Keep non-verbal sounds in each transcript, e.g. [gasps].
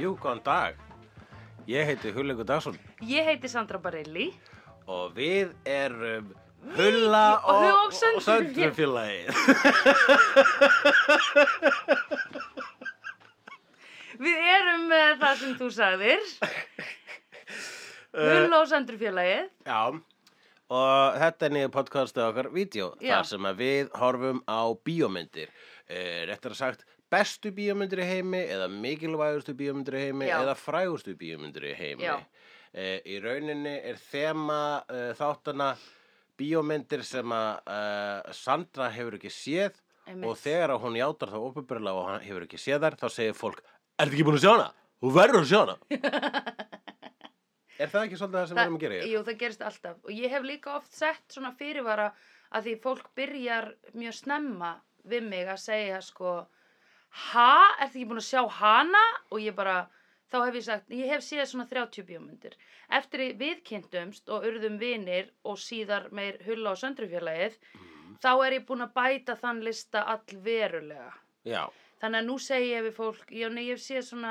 Jú, góðan dag. Ég heiti Hullingur Dagsson Ég heiti Sandra Barelli og við erum Hulla og- og, og Söndrufélagið. Söndrufélagið. Við erum með það sem þú [laughs] sagðir Eh, Hull og Söndrufélagið [laughs] Já, og þetta er niður podcastið okkar vídeo, Já. þar sem að við horfum á bíómyndir. Eh, Réttar sagt, bestu bíómyndir í heimi eða mikilvægustu bíómyndir í heimi Já. eða frægustu bíómyndir í heimi. Já. Eh, í rauninni er þema eh, þáttana bíómyndir sem að eh, Sandra hefur ekki séð Einmitt. og þegar að hún játar þá opinberlega og hann hefur ekki séð þar, þá segir fólk, ertu ekki búin að sjá hana? Þú verður að sjá hana. er það ekki svolítið það sem við erum að gera hér? Jú, það gerist alltaf og ég hef líka oft sett svona fyrirvara að því fólk byrjar mjög snemma við mig að segja sko Ha? Ertu ekki búin að sjá hana? Og ég bara, þá hef ég sagt, ég hef séð svona 30 bíómyndir. Eftir að við kynntumst og urðum vinir og síðar meir hulla og söndrufélagið, Mhm. þá er ég búin að bæta þann lista allverulega. Já, Þannig að nú segi ég við fólk, já nei, ég sé svona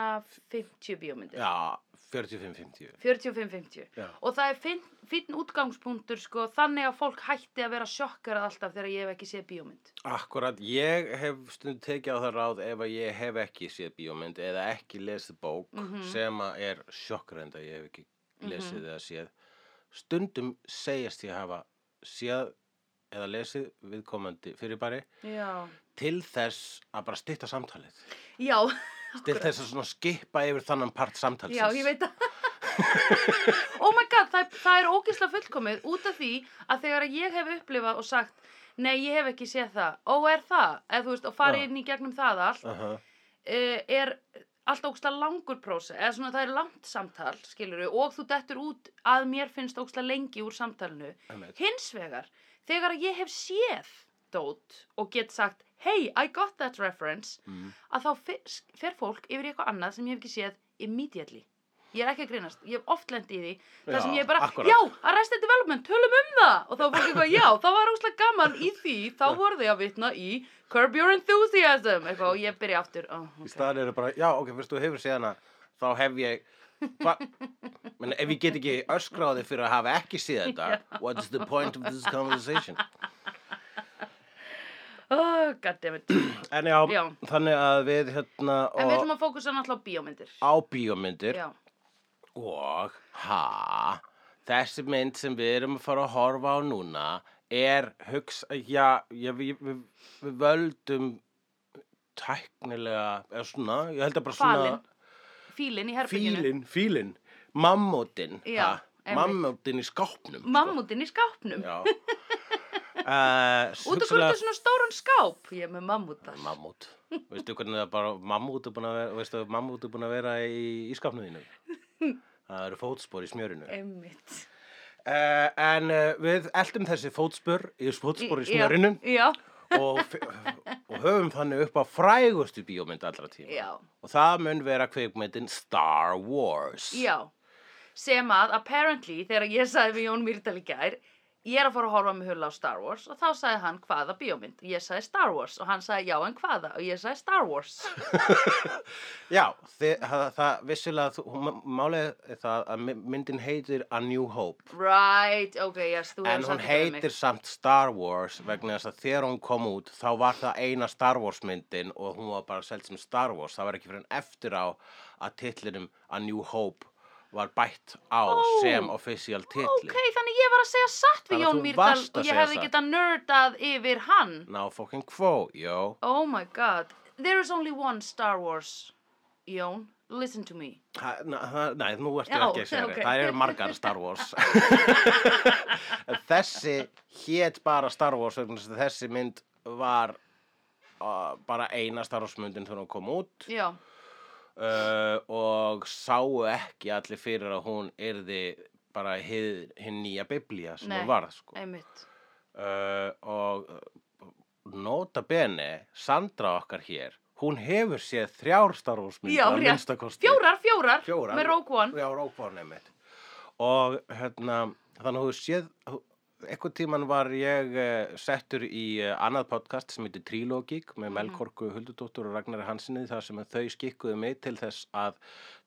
50 bíómyndir. já, 45-50. 45-50. Já. Og það er finn, finn útgangspunktur, sko, þannig að fólk hætti að vera sjokkarað alltaf þegar ég hef ekki séð bíómynd. Akkurat, ég hef stund tekið á það ráð ef að ég hef ekki séð bíómynd eða ekki lesið bók Mhm. sem að er sjokkrænd að ég hef ekki lesið eða séð. Stundum segjast ég hafa séð eða lesið viðkomandi fyrirbæri Já. til þess að bara stytta samtalið. Já, Til þess að svona skipa yfir þannan part samtalsins. já, ég veit það. [laughs] oh my god, það, er- það er ógislega fullkomið út af því að þegar ég hef upplifað og sagt, nei, ég hef ekki séð það, ó, er það, eða þú veist, og Já. farið inn í gegnum það allt, Aha. uh, er allt ógstlega langur prósess, eða svona það er langt samtal, skilur við, og þú dettur út að mér finnst ógstlega lengi úr samtalinu. Einmitt. Hins vegar, þegar ég hef séð dót og get sagt, hey, I got that reference, Mhm. að þá fer, fer fólk yfir í eitthvað annað sem ég hef ekki séð immediately. Ég er ekki að grínast, ég hef oft lendið í því, þar Já, sem ég er bara, akkúrat. já, Arrested Development, tölum um það, og þá er fólk eitthvað, já, þá var óslega gaman í því, þá voru þau að vitna í Curb Your Enthusiasm, eitthvað, og ég byrja aftur, oh, Í okay. staðan eru bara, já, ok, fyrst þú hefur séð hana, þá hef ég, hva, [laughs] menn, ef ég get ekki öskráði fyrir að hafa ekki séð þetta, what's the point of this conversation? oh, goddammit. En já, Já. þannig að við hérna En við og, ætlum að fókusa náttúrulega á bíómyndir. á bíómyndir Já, og, ha, þessi mynd sem við erum að fara að horfa á núna er hugsa, já, já við, við, við völdum tæknilega, eða svona, ég held að bara svona. Falin. fílinn í herbygginu. Fílin, fílin, mammótin Já, ha, einmitt. Mammótin í skápnum sko. Mammutinn í skápnum. [laughs] Já uh, Út af hverju þetta er svona stóran skáp? Ég er með mammutar. Mammút Veistu hvernig það bara Mammút er búin að vera, veistu, mammút er búin að vera í, í skápnum þínu [laughs] Það eru fótspor í smjörinu uh, Emmitt. En uh, við eltum þessi fótspor í fótspor í smjörinu Já, og, og höfum þannig upp á frægustu bíómynd allra tíma Já. Og það mun vera kveikmyndin Star Wars já. Sem að, apparently, þegar ég sagði við Jón Mýrdal í gær, ég er að fara að horfa með hulla á Star Wars og þá sagði hann hvaða bíómynd. Ég sagði Star Wars og hann sagði já en hvaða og ég sagði Star Wars. [laughs] Já, þið, það, það vissulega, þú- hún- málið er það að my- myndin heitir A New Hope Right, ok, yes, þú en hún hefur sagt þetta við mig. heitir samt Star Wars vegna þess að þegar hún kom út þá var það eina Star Wars myndin og hún var bara seld sem Star Wars það var ekki fyrir en eftir á að titlinum A New Hope var bætt á Ó, sem official titli Ok, þannig ég var að segja satt við Þannig að Jón þú Mýrdal varst að og ég segja hefði satt. getað nördað yfir hann. Now fucking quo, yo Oh my god. There is only one Star Wars, Jón. Listen to me. Ha, na, ha, nei, nú ertu Já, ekki að segja ok. okay. Það eru margar Star Wars. [laughs] En þessi hét bara Star Wars vegna þess að þessi mynd var uh, bara eina Star Wars myndin þegar hún kom út Já, uh, og sáu ekki allir fyrir að hún yrði bara hið- hin nýja biblía sem Nei. hún varð sko. einmitt. uh, og uh, nota bene Sandra okkar hér hún hefur séð þrjár Star Wars Já, myndar að rétt. minnsta kosti Fjórar, fjórar, fjórar með Rogue One. já, Rogue One einmitt og hérna þannig að þú séð þú- eitthvað tíman var ég eh, settur í eh, annað podcast sem heitir Trilogík Mhm. með Melkorku Huldudóttur og Ragnari Hansinni þar sem að þau skikkuðu mig til þess að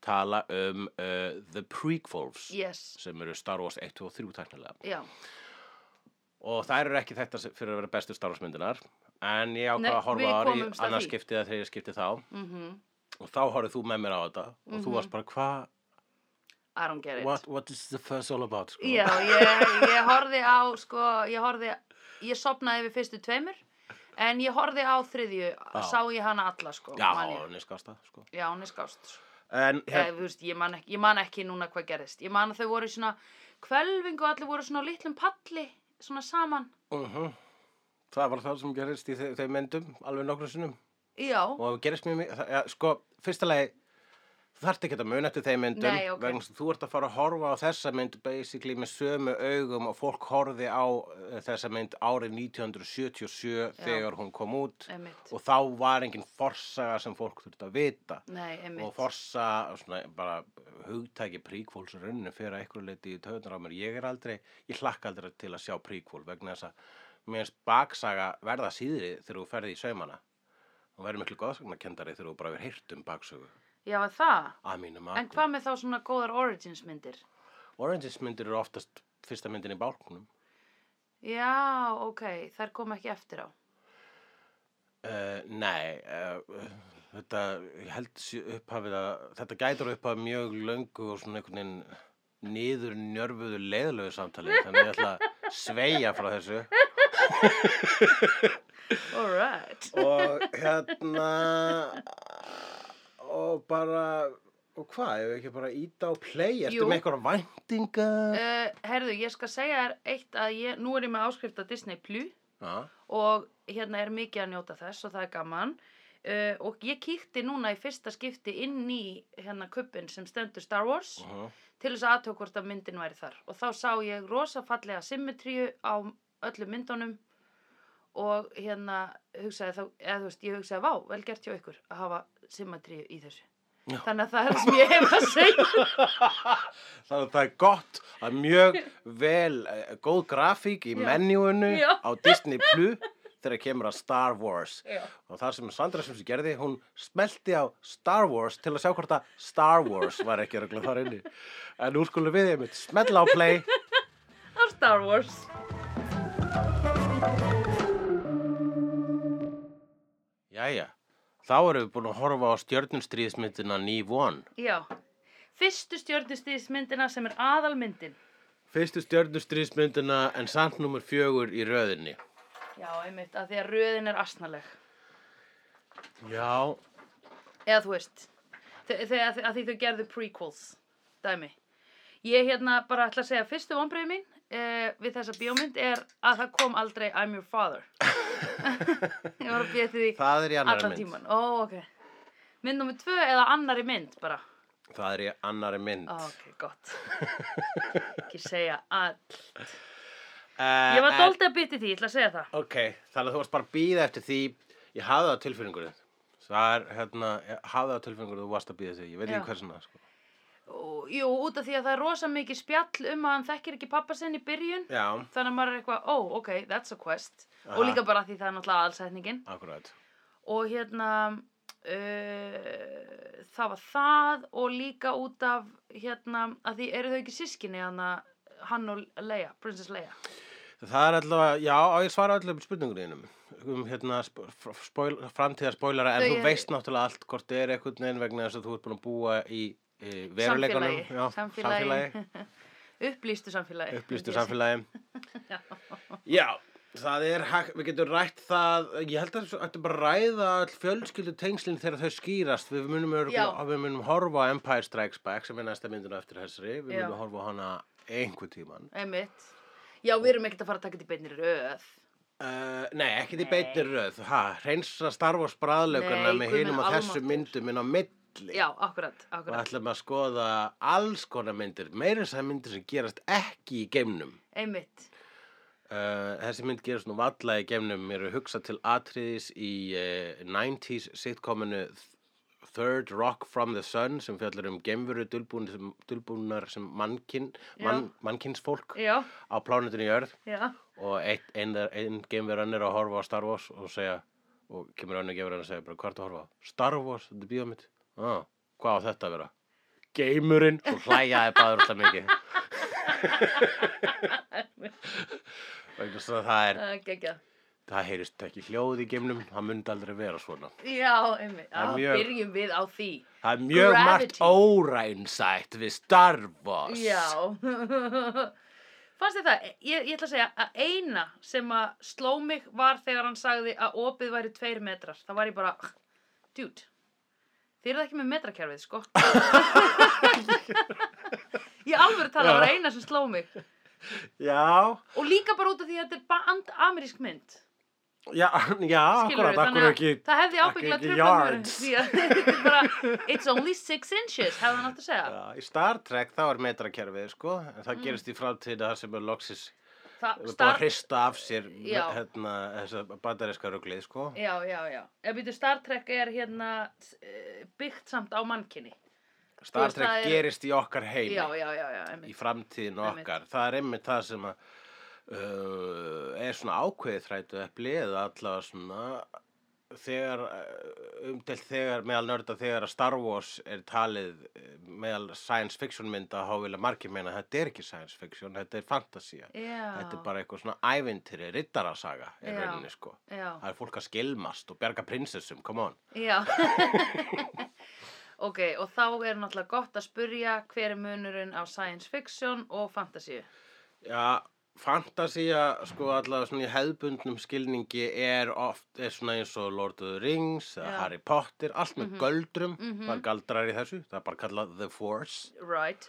tala um uh, The Prequels yes, sem eru Star Wars 1, 2 og 3 tæknilega já, og þær eru ekki þetta fyrir að vera bestu Star Wars myndunar en ég Nei, ákvað að við horfa á þær í komumst að annars því. skiptið eða þegar ég skipti þá mhm og þá horfðu þú með mér á þetta og þú varst bara hvað I don't get it what, what is the first all about sko? Já, ég, ég horfði á sko, ég horfði, ég sopnaði við fyrstu tveimur en ég horfði á þriðju, sá ég hana alla sko já, man ég. hún er skásta sko. já hún er skást en hérna, ég, hér, veist, ég, man ekki, ég man ekki núna hvað gerðist ég man að þau voru í svona kvelving og allir voru svona á litlum palli svona saman uh það var það sem gerist í þe- þeim myndum alveg nokkrum sinnum já, og það gerist mjög mjög, ja, sko, fyrsta lagi þú þarft ekki að muna eftir þeim myndum Nei, ok. vegna þess að þú ert að fara að horfa á þessa mynd basically með sömu augum og fólk horfi á eh, þessa mynd árið 1977 þegar hún kom út einmitt og þá var engin forsaga sem fólk þurfti að vita nei, einmitt og forsa svona, bara hugtæki príkvóls rauninni fyrir að ykkur leiti í töðunar á mér ég er aldrei, ég hlakka aldrei til að sjá príkvól vegna þess að mér finnst baksaga verða síðri þegar þú ferði í saumana og verður miklu góðsagnakendari þegar þú bara verður heyrt um baksögu já, er það að mínum en hvað með þá svona góðar origins myndir Oranges myndir eru oftast fyrsta myndin í bálkunum já, ok, þær kom ekki eftir á Uh, nei, uh, þetta, ég held sé upphafið að, þetta gætur upphafið mjög löngu og svona einhvern veginn niður njörfuðu leiðlegu samtali, þannig ég ætla að sveigja frá þessu. alright Og hérna, og bara, og hvað, ef við ekki bara íta og play, Jú. ertu með einhverja væntingar? Uh, herðu, ég skal segja þér eitt að ég, nú er ég með áskrift að Disney Plus Já, og hérna er mikið að njóta þess og það er gaman uh, og ég kíkti núna í fyrsta skipti inn í hérna kuppin sem stendur Star Wars uh -huh. til þess að aðtöku hvort að myndin væri þar og þá sá ég rosa fallega symmetríu á öllum myndunum og hérna hugsaði þá, eða þú veist, ég hugsaði vá, vel gert hjá ykkur að hafa symmetríu í þessu Já. þannig að það er það sem ég hef að segja Þannig að það er gott að mjög vel uh, góð grafík í Já. menjúinu Já. á Disney Plus þegar kemur að Star Wars. Já. Og það sem Sandra Simpson gerði, hún smelti á Star Wars til að sjá hvort að Star Wars var ekki regla þar inni. En nú skulum við einmitt smetla á play. á Star Wars Jæja, þá erum við búin að horfa á stjörnumstríðismyndina Ný Von. Já, fyrstu stjörnustíðismyndina sem er aðalmyndin. Fyrstu stjörnumstríðismyndina en samt nummer fjögur í röðinni. Já, einmitt, að því að röðin er asnaleg. Já, Eða þú veist, þe- þegar að því þau gerðu prequels, dæmi. Ég hérna bara ætla að segja að fyrstu vonbreið mín eh, við þessa bíómynd er að það kom aldrei I'm your father. [laughs] ég var að býja eftir því það er í annari allan mynd. tíman. Ó, ok. Mynd nummer tvö eða annari mynd bara. Það er í annari mynd. Ó, ok, [laughs] gott. Ekki segja all. Uh, Ég var dóldið að býta því, ég ætla að segja það. Ok, þannig að þú varst bara að býða eftir því Ég hafði það á tilfinningunni Það er, hérna, ég hafði það á tilfinningunni Þú varst að býða því, ég veit Já. ekki hversna sko. Og- Jú, út af því að það er rosa mikið spjall um að hann þekkir ekki pappa sinn í byrjun Já, þannig að maður er eitthvað, ó, ok, that's a quest Aha. og líka bara því það er náttúrulega aðalsætningin akkurat og hérna uh, það var það og líka út af hérna, að því eru þau ekki sískinni hana, hann og Leia, Princess Leia Það er allavega, já, á ég svara allavega um spurningunni einum um hérna sp- fr- spoil, framtíðar spoilara en Þau þú eru- veist náttúrulega allt hvort þið er einhvern veginn vegna þess að þú ert búin að búa í e, veruleikanum Samfélagi. já, Samfélagi. [laughs] upplýstu samfélagi upplýstu myndi ég segja. [laughs] samfélagi Já, það er hægt, við getum rætt það, ég held að þetta bara að ræða all fjölskyldu tengslinn þegar þau skýrast, við munum, örugglega- Já. við munum horfa á Empire Strikes Back sem er næsta myndin á eftir þessari, við Já. munum horfa á hana einhver tíman. einmitt já, við erum ekkert að fara að taka þetta í beinni röð Uh, nei, ekki því beinni röð, ha, reynsa Star Wars bræðlaugana Nei, með guð hinum minn og þessu almáttugur. myndum inn á milli. já, akkurat, Og akkurat. ætlum að skoða alls konar myndir, meira þess að myndir sem gerast ekki í geimnum. einmitt Uh, þessi mynd gerist nú valla í gemnum mér er hugsað til atriðis í uh, 90s eh, sitcominu Th- Third Rock from the Sun sem fjallar um gemveru dulbúnar sem, dulbúnar sem mannkinn, Já. mann, mannkinnsfólk já, á plánutinu jörð já, og eitt, ein, ein gemveran er að horfa á Star Wars og segja og kemur önnur gemveran og segja bara hvað ertu að horfa á? Star Wars, þetta er bíómynd ah, hvað á þetta að vera? Geimurinn og hlæjaði báður alltaf [laughs] mikið vegna þess að það er uh, geggjað. það heyrist ekki hljóð í geimnum það myndi aldrei vera svona Já, einmitt, Það er að mjög- byrjum við á því. það er mjög Gravity. margt órænsætt við Star Wars Já. [laughs] Fannst þið það, ég, ég ætla að segja að eina sem að sló mig var þegar hann sagði að opið væri tveir metrar. Það var ég bara, dude, þið eruð ekki með metrakerfið, sko. [laughs] ég alveg tala, það var eina sem sló mig. já, Og líka bara út af því að þetta er bara and- amerísk mynd. já, já Skilurðu, Ah, akkurat, akkur að ekki það hefði akkur ábyggla ekki tröfnum verið. yards. [laughs] Því að þetta er bara, it's only six inches, hefði hann átt að segja. Já, í Star Trek þá er metrakerfið sko, en það gerist í framtíða það sem er loksis Það, búið að Mm. star, hrista af sér me- Já. hérna, þessa bandaríska ruglið sko. Já, já, já. Ef býtu Star Trek er hérna eh, byggt samt á mannkinni. Star veist, það Trek er- gerist í okkar heimi Já, já, já, já, í einmitt. framtíðin Einmitt. okkar það er einmitt það sem að uh, er svona ákveðið þrætu epli eða allavega svona þegar uh, umtelt þegar meðal nörda þegar að Star Wars er talið uh, meðal science fiction mynda þá vilja margir meina að þetta er ekki science fiction þetta er fantasía Já, þetta er bara eitthvað svona ævintýri rittarasaga er Já. rauninni sko já, það er fólk að skilmast og berga prinsessum come on já. [laughs] ok, og þá er náttúrulega gott að spurja hver er munurinn á science fiction og fantasíu. Já, fantasía, sko allavega svona í hefðbundnum skilningi er oft, er svona eins og Lord of the Rings, eða Já. Harry Potter, allt með göldrum, Mhm. það er galdrar í þessu, það er bara kallað The Force Right.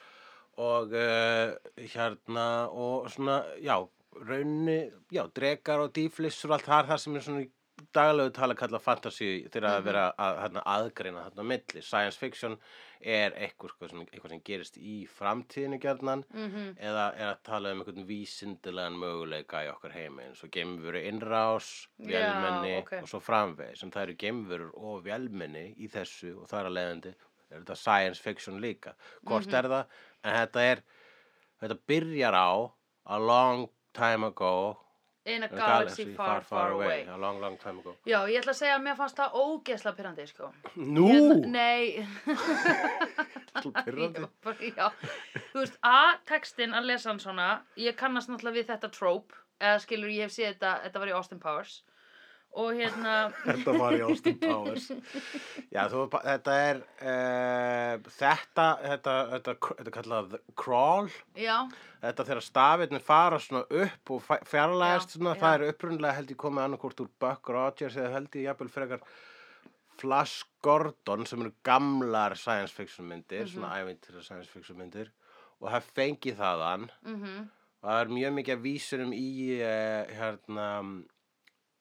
og uh, hérna og svona, já, raunni, já, drekar og dýflissur og allt það er það sem er svona í daglegu tala kallað fantasíu þegar að Mhm. vera að, hérna, aðgreina þarna á milli. Science fiction er eitthvað, sko, sem, eitthvað sem gerist í framtíðinu gjarnan Mm -hmm. eða er að tala um einhvern vísindilegan möguleika í okkar heimi eins og geimveru innrás, Já, vélmenni ok. og svo framvegis en það eru geimverur og vélmenni í þessu og það er að leiðandi er þetta science fiction líka hvort Mhm. er það, en þetta er þetta byrjar á a long time ago In a a galaxy, far, far away. a long long time [laughs] ago Já, ég ætla að segja að mér fannst það ógeðsla pyrrandi, sko. Hérna- Nú, Nei, þú pyrrandi Ég var bara- Já, þú veist, að textin að lesa hann svona, ég kannast náttúrulega við þetta trope, eða skilur ég hef séð þetta, þetta var í Austin Powers og hérna, Þetta var í [laughs] Austin Powers Já, þú, þetta er uh, þetta, þetta, þetta þetta er kallað the crawl já, þetta þegar stafirnir fara svona upp og fa- fjarlægast Já, svona, já. það er upprunnilega held ég komið annarkort úr Buck Rogers eða held ég jafnvel frekar Flash Gordon sem eru gamlar science fiction myndir, svona Mhm. ævintir science fiction myndir og það fengi þaðan mhm, og það er mjög mikið að vísunum í eh, hérna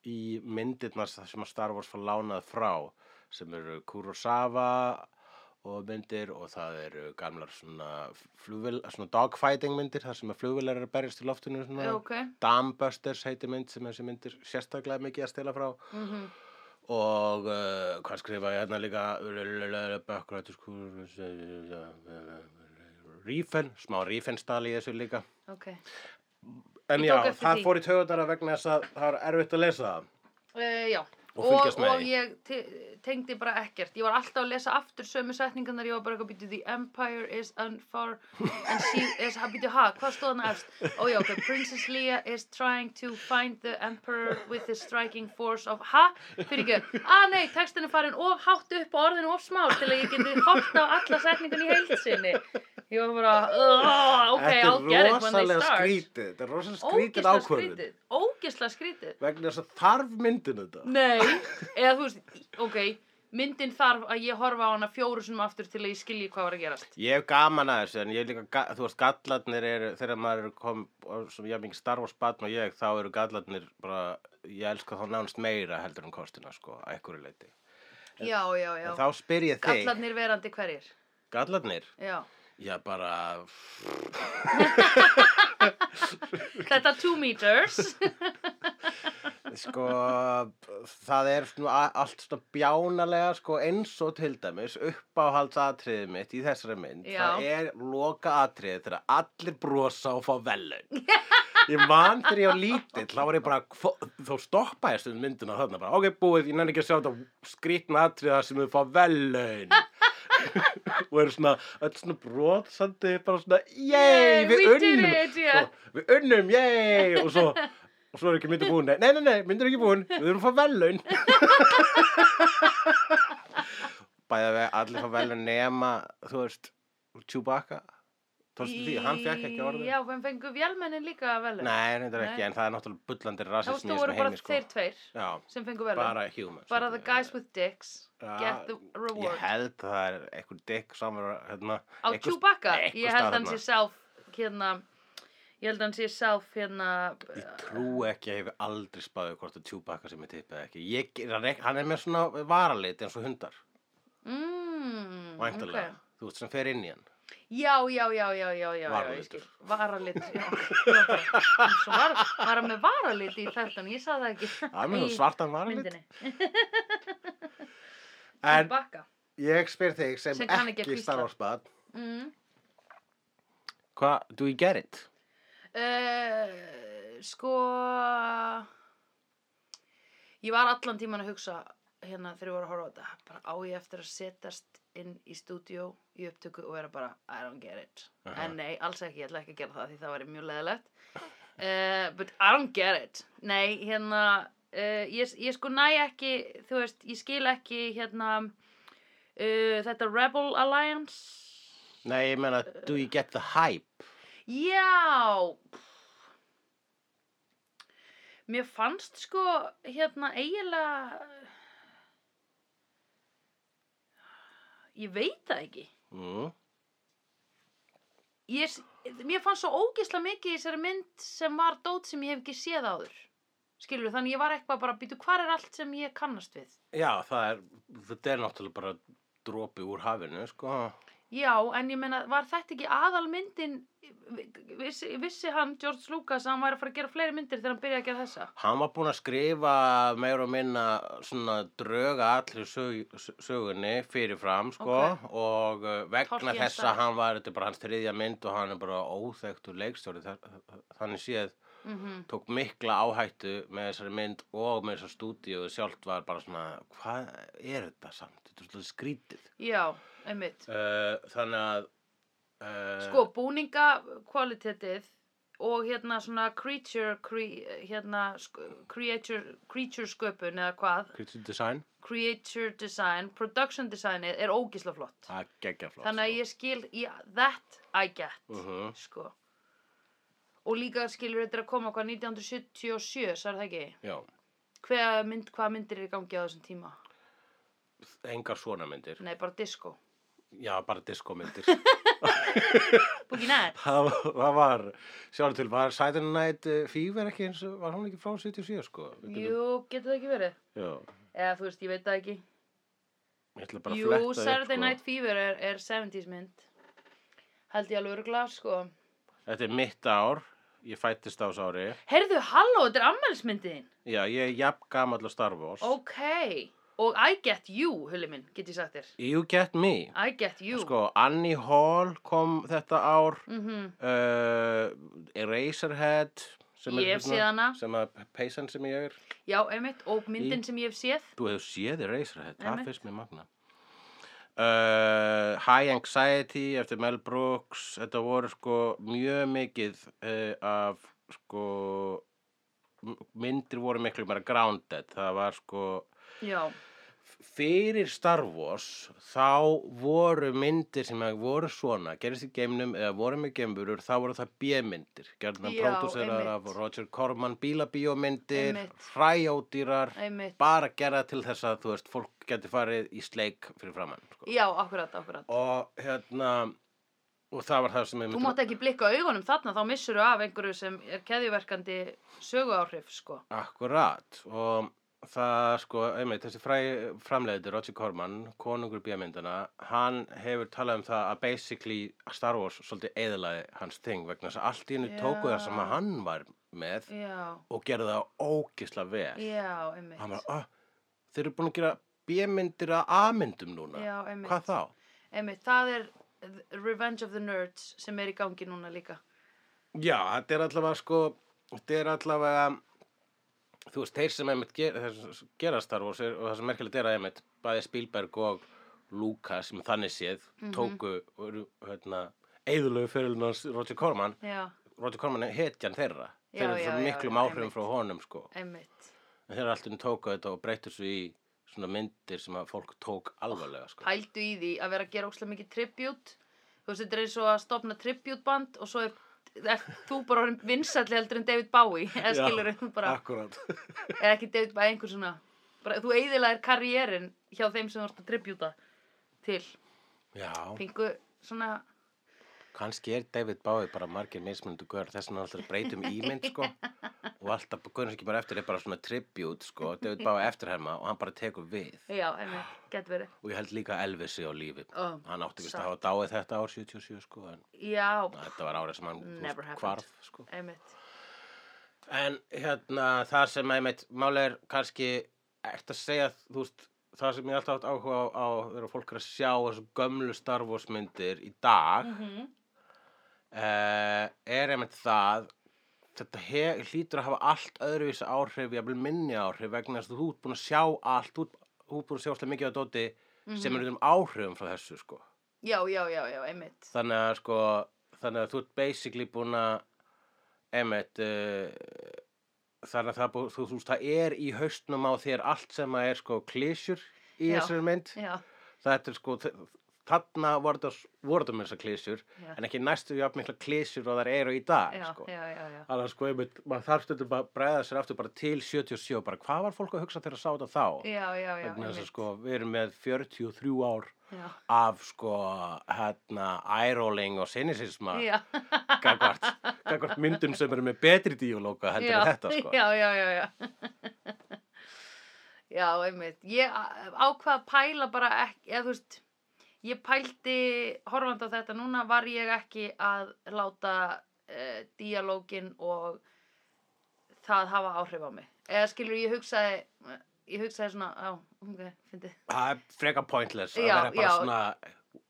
í myndirnar sem að Star Wars var lánað frá sem eru Kurosawa og myndir og það eru gamlar svona, flugvél, svona dogfighting myndir þar sem að flugvilar eru að berjast í loftinu svona. ok, Dambusters heitir mynd sem þessi myndir sérstaklega mikið að stela frá mhm, og uh, hvað skrifa ég hérna líka Bökkrættur skúr Rífen, smá rífenstali í þessu líka ok. En Ég já, tók eftir það því. fór í taugatara vegna þess að það er erfitt að lesa það. Uh, já, Og fylgjast með og því. ég te tengdi bara ekkert, ég var alltaf að lesa aftur sömu setningarnar, ég var bara eitthvað býtið, the empire is unfar, and she is, ha, býtið, ha, hvað stóð hann efst? Ó já, ok, princess Leia is trying to find the emperor with the striking force of, ha, fyrir ekki, ah nei, textin er farin of hátt upp og orðin of smá til að ég geti hort á alla setningarni í heilsinni. Ég var bara, oh, ok, I'll get Þetta er it when they rosalega start. skrítið, þetta er rosalega skrítið Ógeðslega ákvörðin. skrítið, ógeðslega skrítið. Vegna þess að þarf myndin þetta. Nei, eða þú veist, ok, myndin þarf að ég horfa á hana fjóru sinum aftur til að ég skilji hvað var að gerast. Ég hef gaman að þessu, en ég hef líka, ga- þú veist, gallarnir eru, þegar maður er kom, og sem ég hef mikið Star Wars batn og ég, þá eru gallarnir bara, ég elska þá nánast meira heldur um kostina, sko, að einhverju leiti. Já, já, já. En þá spyr ég þig, gallarnir, Gallarnir verandi hverjir. Já. já bara, [laughs] Þetta two meters. sko, það er svona a- allt svona bjánalega sko eins og til dæmis uppáhaldsatriðið mitt í þessari mynd Já. það er loka atriðið þegar allir brosa og fá [laughs] velun ég man þegar ég var lítill þá var ég bara, hvo- þá stoppaði stund myndina þarna bara, ok búið, ég nenni ekki að sjá þetta skrýtna atriða sem þau fá [laughs] velun og eru svona öll svona brotandi bara svona, yey, Yay, við [laughs] we did unnum it, Svo, Sko, við unnum, yey yeah. og svo, og svo er ekki myndir búin nei, nei, nei, myndir ekki búin, við erum að fá [laughs] velun bæða við allir fá velun nema, þú veist Chewbacca, tókstu því hann fekk ekki orðið Já, en fengu vélmennin líka velun. nei, reyndar ekki, Nei. en það er náttúrulega bullandi Þú veist, rasismi í þú þessum voru bara heimi sko. þeir tveir já, sem fengu velun. bara humans Bara the guys with dicks Ja, get the reward. Ég held að það er einhver dick samar hérna, Á einhver- Chewbacca, einhver ég held staðar hann sé self, hérna, ég held hann sé self, hérna, Ég trú ekki að ég hef aldrei spáðið hvort að Chewbacca sem ég tippið ekki. Ég, hann er- hann er með svona varalit eins og hundar, mmm, væntalega. Þú veist sem fer inn í hann. Já, já, já, já, já, já, já, ég skil. Varalitur. Varalitur, já. Eins og var, var hann með varalit í þærtan, ég sagði það ekki. Það er með Í svona svartan varalit. myndinni. En Bakka. ég spyr þig sem, Sem kann ekki að ekki hvísla. Star Wars bad, Mm. hvað, do you get it? Uh, sko, ég var allan tíman að hugsa hérna þegar ég voru að horfa á þetta, bara á ég eftir að setjast inn í stúdíó í upptöku og vera bara, I don't get it. Aha. En nei, alls ekki, ég ætla ekki að gera það því það væri mjög leðilegt. Uh, but I don't get it. Nei, hérna, uh, ég, ég sko næ ekki, þú veist, ég skil ekki hérna uh, þetta Rebel Alliance. Nei, ég meina, do you get the hype? Já Mér fannst sko hérna eiginlega Ég veit það ekki Mm. ég, s- Mér fannst svo ógisla mikið í þessari mynd sem var dót sem ég hef ekki séð áður Skilur, þannig ég var eitthvað bara býtu hvar er allt sem ég kannast við Já, það er, þetta er náttúrulega bara dropi úr hafinu, sko. Já, en ég meina, var þetta ekki aðalmyndin vissi, vissi hann, George Lucas, að hann væri að fara að gera fleiri myndir þegar hann byrjaði að gera þessa? Hann var búinn að skrifa meira og minna svona dröga allir sög, sögunni fyrirfram sko Ókei. og uh, vegna Tolkien þess style. að hann var, þetta er bara hans þriðja mynd og hann er bara óþekktur leikstjóri þar- þannig séð Mm tók mikla áhættu með þessari mynd og með þessar stúdíu sjálft var bara svona hvað er þetta samt, þetta er svona skrítið Já, einmitt. uh, þannig að uh, Sko, búninga kvalitetið og hérna svona creature, cre, hérna sk- creature, creature sköpun eða hvað, Creature Design, creature design, production designið er ógisla flott. það geggja flott sko. Þannig að ég skil, yeah, that I get, Mhm. sko. Og líka skilur þetta er að koma hvað 1977, sagði það ekki? Já, Hver mynd, hvað myndir er í gangi á þessum tíma? engar svona myndir Nei, bara disco. Já, bara [laughs] diskomyndir Boogie Nights. það, var- það var, sjáðu til, var Saturday Night eh, Fever ekki eins og, var hún ekki frá 77 sko? Við getum- Jú, getur það ekki verið? Já, Eða þú veist, ég veit það ekki. ég ætla bara að Jú, fletta upp, Saturday sko. Night Fever er, er 70s mynd Held ég alveg örgla, sko Þetta er mitt ár, ég fættist á sári. Heyrðu, halló, þetta er ammælismyndin Já, ég er jafn gamall að Star Wars. Ok, og I get you, hulli minn, get ég sagt þér You get me. I get you Sko, Annie Hall kom þetta ár, mm uh, Eraserhead, sem Ég er hérna, hef séð hana. sem að peysan sem ég er. Já, einmitt, og myndin sem ég hef séð Þú hefur séð Eraserhead, það Einmitt. finnst mér magna. Uh, High Anxiety eftir Mel Brooks, þetta voru sko mjög mikið uh, af sko, m- myndir voru miklu meira grounded, það var sko, Já, fyrir Star Wars þá voru myndir sem að voru svona, gerist í geimnum eða voru með geimurur, þá voru það B-myndir gerðan Já, pródúserar af einmitt. Roger Corman bílabíómyndir, Einmitt. hræjódýrar einmitt bara gera til þess að þú veist, fólk geti farið í sleik fyrir framann sko. Já, akkurat, akkurat og hérna og það var það sem ég Þú mátt ekki blikka augunum þarna, þá missuru af einhverju sem er keðjuverkandi söguáhrif, sko akkurat og það sko, einmitt, þessi fræ, framleiðið Roger Corman, konungur bíamyndana hann hefur talað um það að basically Star Wars svolítið eðlaði hans þing vegna þess að allt í hennu Já. tóku það sem að hann var með Já, og gerði það ógisla vel já, einmitt hann var, oh, þeir eru búin að gera B-myndir að A-myndum núna Já, einmitt. hvað þá? Einmitt, það er Revenge of the Nerds sem er í gangi núna líka. Já, þetta er allavega sko þetta er allavega þú veist, þeir sem einmitt ger, þeir sem gera Star Wars er, og það sem merkilegt er að einmitt bæði Spielberg og Lucas sem þannig séð Mhm. tóku voru, hérna, eðulegu fyrirlunars Roger Corman Já, Roger Corman er hetjan þeirra Já, þeir eru já, svo já, miklum já, áhrifum einmitt. frá honum sko einmitt. en þeir eru alltaf tóku þetta og breyttu svo í svona myndir sem að fólk tók alvarlega sko. Pældu í því að vera að gera óslega mikið tribute. Þú veist, þetta er eins og að stopna tributeband og svo er, er þú bara orðin vinsalli heldur en David Bowie. Eða skilur þú bara, Akkurát eða ekki David Bowie, einhver svona. Bara, þú eigðilega er karriérin hjá þeim sem þú ert að tributa til. [laughs] Já, Pingu svona, kannski er David Bowie bara margir mismundu gaur þess að hann alltaf breytum ímynd sko og alltaf gaur sem ekki bara eftir er bara svona tribute sko David Bowie eftirherma og hann bara tekur við já, einmitt, gett verið. og ég held líka Elvisi á lífi Ó, hann átti ekki satt. að hafa dáið þetta ár 77 sko en Já, þetta var árið sem hann þú Never veist, happened. hvarf sko einmitt. En hérna, það sem einmitt máli er kannski, ert að segja, þú veist, það sem ég hef alltaf átt áhuga á, á þegar fólk er að sjá þessu gömlu Star Wars myndir í dag, mm Eh, er einmitt það, þetta he, hlýtur að hafa allt öðruvísa áhrif, jafnvel minni áhrif, vegna þess að þú ert búin að sjá allt, þú ert- þú ert búin að sjá alltaf mikið á dóti sem eru um áhrifum frá þessu, sko Mhm. Já, já, já, já, einmitt. þannig að sko þannig að þú ert basically búin að emitt uh, þannig að það, bú, þú, þú, veist, það er í haustnum á þér allt sem að er sko klísjur í Já. þessari mynd Já, þetta er sko þarna voru þetta voru þetta með þessar klísjur Já. en ekki næstu jafn mikla klísjur og þær eru í dag já, sko. já, já, já. þannig að sko einmitt maður þarf stundum bara að bregða sér aftur bara til 77 bara hvað var fólk að hugsa þegar að sá þetta þá Já, já, já, Vegna þess að einmitt. sko við erum með 43 ár Já, af sko hérna eye-rolling og sinisisma já, gagvart, gagvart myndum sem eru með betri díolóka heldur en já, þetta sko [laughs] já, já, já, já. Já, einmitt. Ég á- ákvað að pæla bara ekki, eða þú veist, ég pældi horfandi á þetta, núna var ég ekki að láta uh, díalógin og það hafa áhrif á mig. Eða skilur, ég hugsaði, ég hugsaði svona, á, ok, [laughs] fyndið. það er freka pointless að Já, vera bara já. svona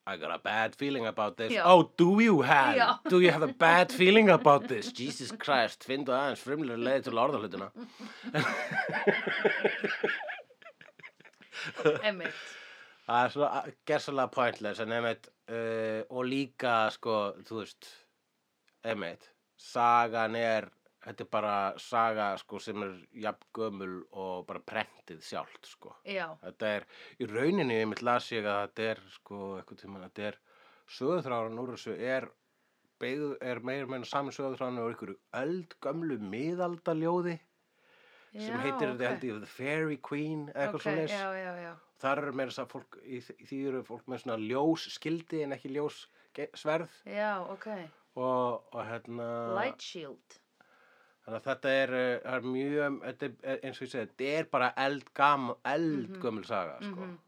I got a bad feeling about this Já. oh do you have Já. do you have a bad feeling about this Jesus Christ, fyndu aðeins frumlega leið til orðahlutuna Einmitt. það er svona gersalega pointless en einmitt uh, og líka sko þú veist einmitt, sagan er þetta er bara saga sko sem er jafn gömul og bara prentið sjálft sko Já, Þetta er, í rauninni einmitt las ég að þetta er, sko, eitthvað tíma, þetta er sögurþráran úr þessu er, beigð, er meira meina saman sögurþráran úr einhverju öldgömlu miðaldaljóði já, sem heitir þetta held ok. ég The Fairy Queen eða eitthvað Ok, okay, svoleiðis. Já, já, já. Þar eru meira þess að fólk, í, þ- í því eru fólk með svona ljós skildi en ekki ljós ge- sverð Já, ok. Uh. og, og hérna... Light shield. Þannig að þetta er, uh, það er mjög, þetta er, eh, eins og ég segi, þetta er bara eldgam, eldgömul saga, sko. Mhm.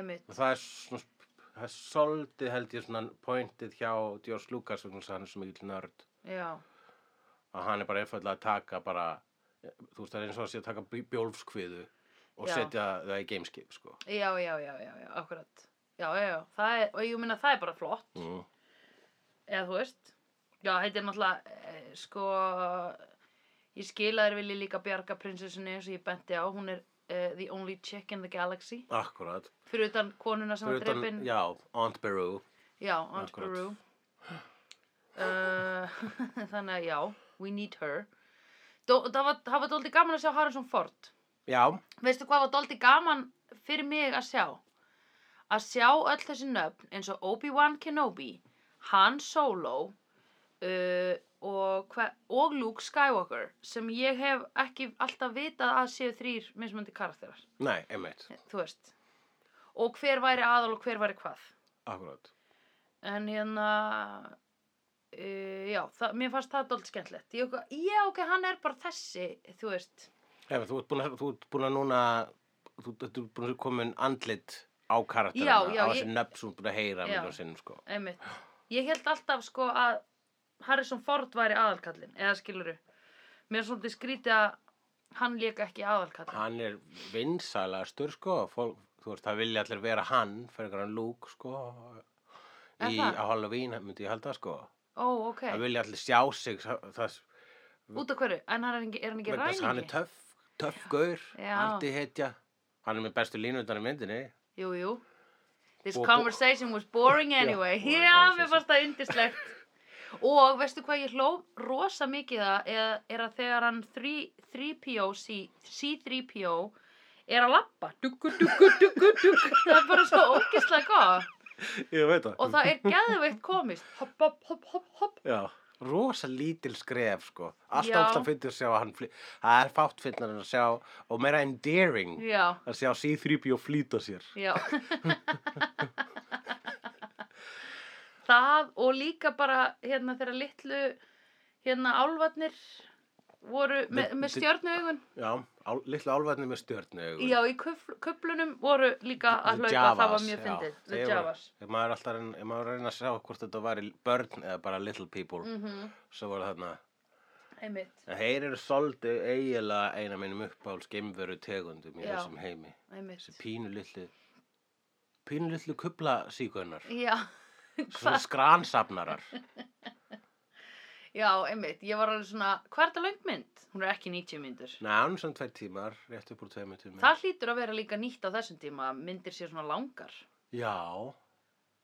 Einmitt. og það er svona það er soldið held ég svona pointið hjá George Lucas vegna þess að hann er svo mikill nörd Já, að hann er bara einfallega að taka bara eh, þú veist það er eins og að sé að taka bj- bjólfskviðu og Já. setja það í gameskip sko já, já, já, já, já, akkurat. Já, já, já, það er, og ég meina það er bara flott, mm. eða þú veist. Já, þetta er náttúrulega, eh, sko, ég skil að þér vilji líka bjarga prinsessunni eins og ég benti á, hún er uh, the only chick in the galaxy. Akkurat Fyrir utan konuna sem Fyrir var drefin, utan, já, Aunt Beru já, Aunt Akkurat. Beru. Uh, [laughs] þannig að já, we need her. Dó, það var, það var dóldi gaman að sjá Harrison Ford. Já, veistu hvað var doldi gaman fyrir mig að sjá að sjá öll þessi nöfn eins og Obi-Wan Kenobi Han Solo uh, og, hva, og Luke Skywalker sem ég hef ekki alltaf vitað að séu þrýr mismöndi karakterar nei, einmitt þú veist og hver væri aðal og hver væri hvað Akkurat en hérna uh, já, það, mér fannst það doldi skemmtilegt ég, já, ok, hann er bara þessi þú veist, Ef, þú, ert búin að, þú ert búin að núna þú þú ert búin að koma inn andlit á karakterina Já, já, á þessi ég- nöfn sem þú ert búin að heyra Já. miljón sinnum sko einmitt. Ég held alltaf sko að Harrison Ford væri aðalkallin, eða skiluru. Mér er svolítið skrítið að hann lék ekki aðalkall hann er vinsælastur sko fólk, þú veist það vilja allir vera hann fyrir einhverjan lúk sko Er í, það? á Halloween myndi ég halda sko ó ok, það vilja allir sjá sig það, það, út af hverju en hann er, ekki- er hann ekki vegna þess að hann er ræningi töff, töff gaur Já. allt í heitja hann er með bestu línundar í myndinni jú, jú this Bo- bo- conversation was boring anyway boring já, mér conversation. fannst það undislegt og veistu hvað ég hló rosa mikið að er, er að þegar hann 3- 3PO C- C3PO er að lappa duggu, duggu, duggu, duggu það er bara svo ógislega gott ég veit það og það er geðveikt komist hopp, hopp, hopp, hopp, hopp Já, rosa lítil skref sko alltaf Já. alltaf fyrir að sjá hann fly- það er fátt fyrir að sjá og meira endearing já, að sjá C-3PO flýta sér já [laughs] það og líka bara hérna þegar litlu hérna álvarnir voru me, The- með the- stjörnaugun já, á, litlu álvarni með stjörnu já, í kufl, kuflunum voru líka að hlaupa, það var mjög fyndið the javas Ef maður, alltaf, reyn- ef maður reyna að sjá hvort þetta var börn eða bara little people, mm -hmm. svo voru þarna. einmitt, En þeir eru svolítið eiginlega eina mínum uppáhalds geimveru tegundum í Já. þessum heimi. einmitt Þessi pínu litlu, pínu litlu [laughs] kublasíkunar, já, svona skransafnarar. já, einmitt, ég var alveg svona hvað er þetta löngmynd? hún er ekki 90 myndur Nei, hann er svona tveir tímar, rétt upp úr tveimur tímar. það hlýtur að vera líka nýtt á þessum tíma að myndir sér svona langar Já,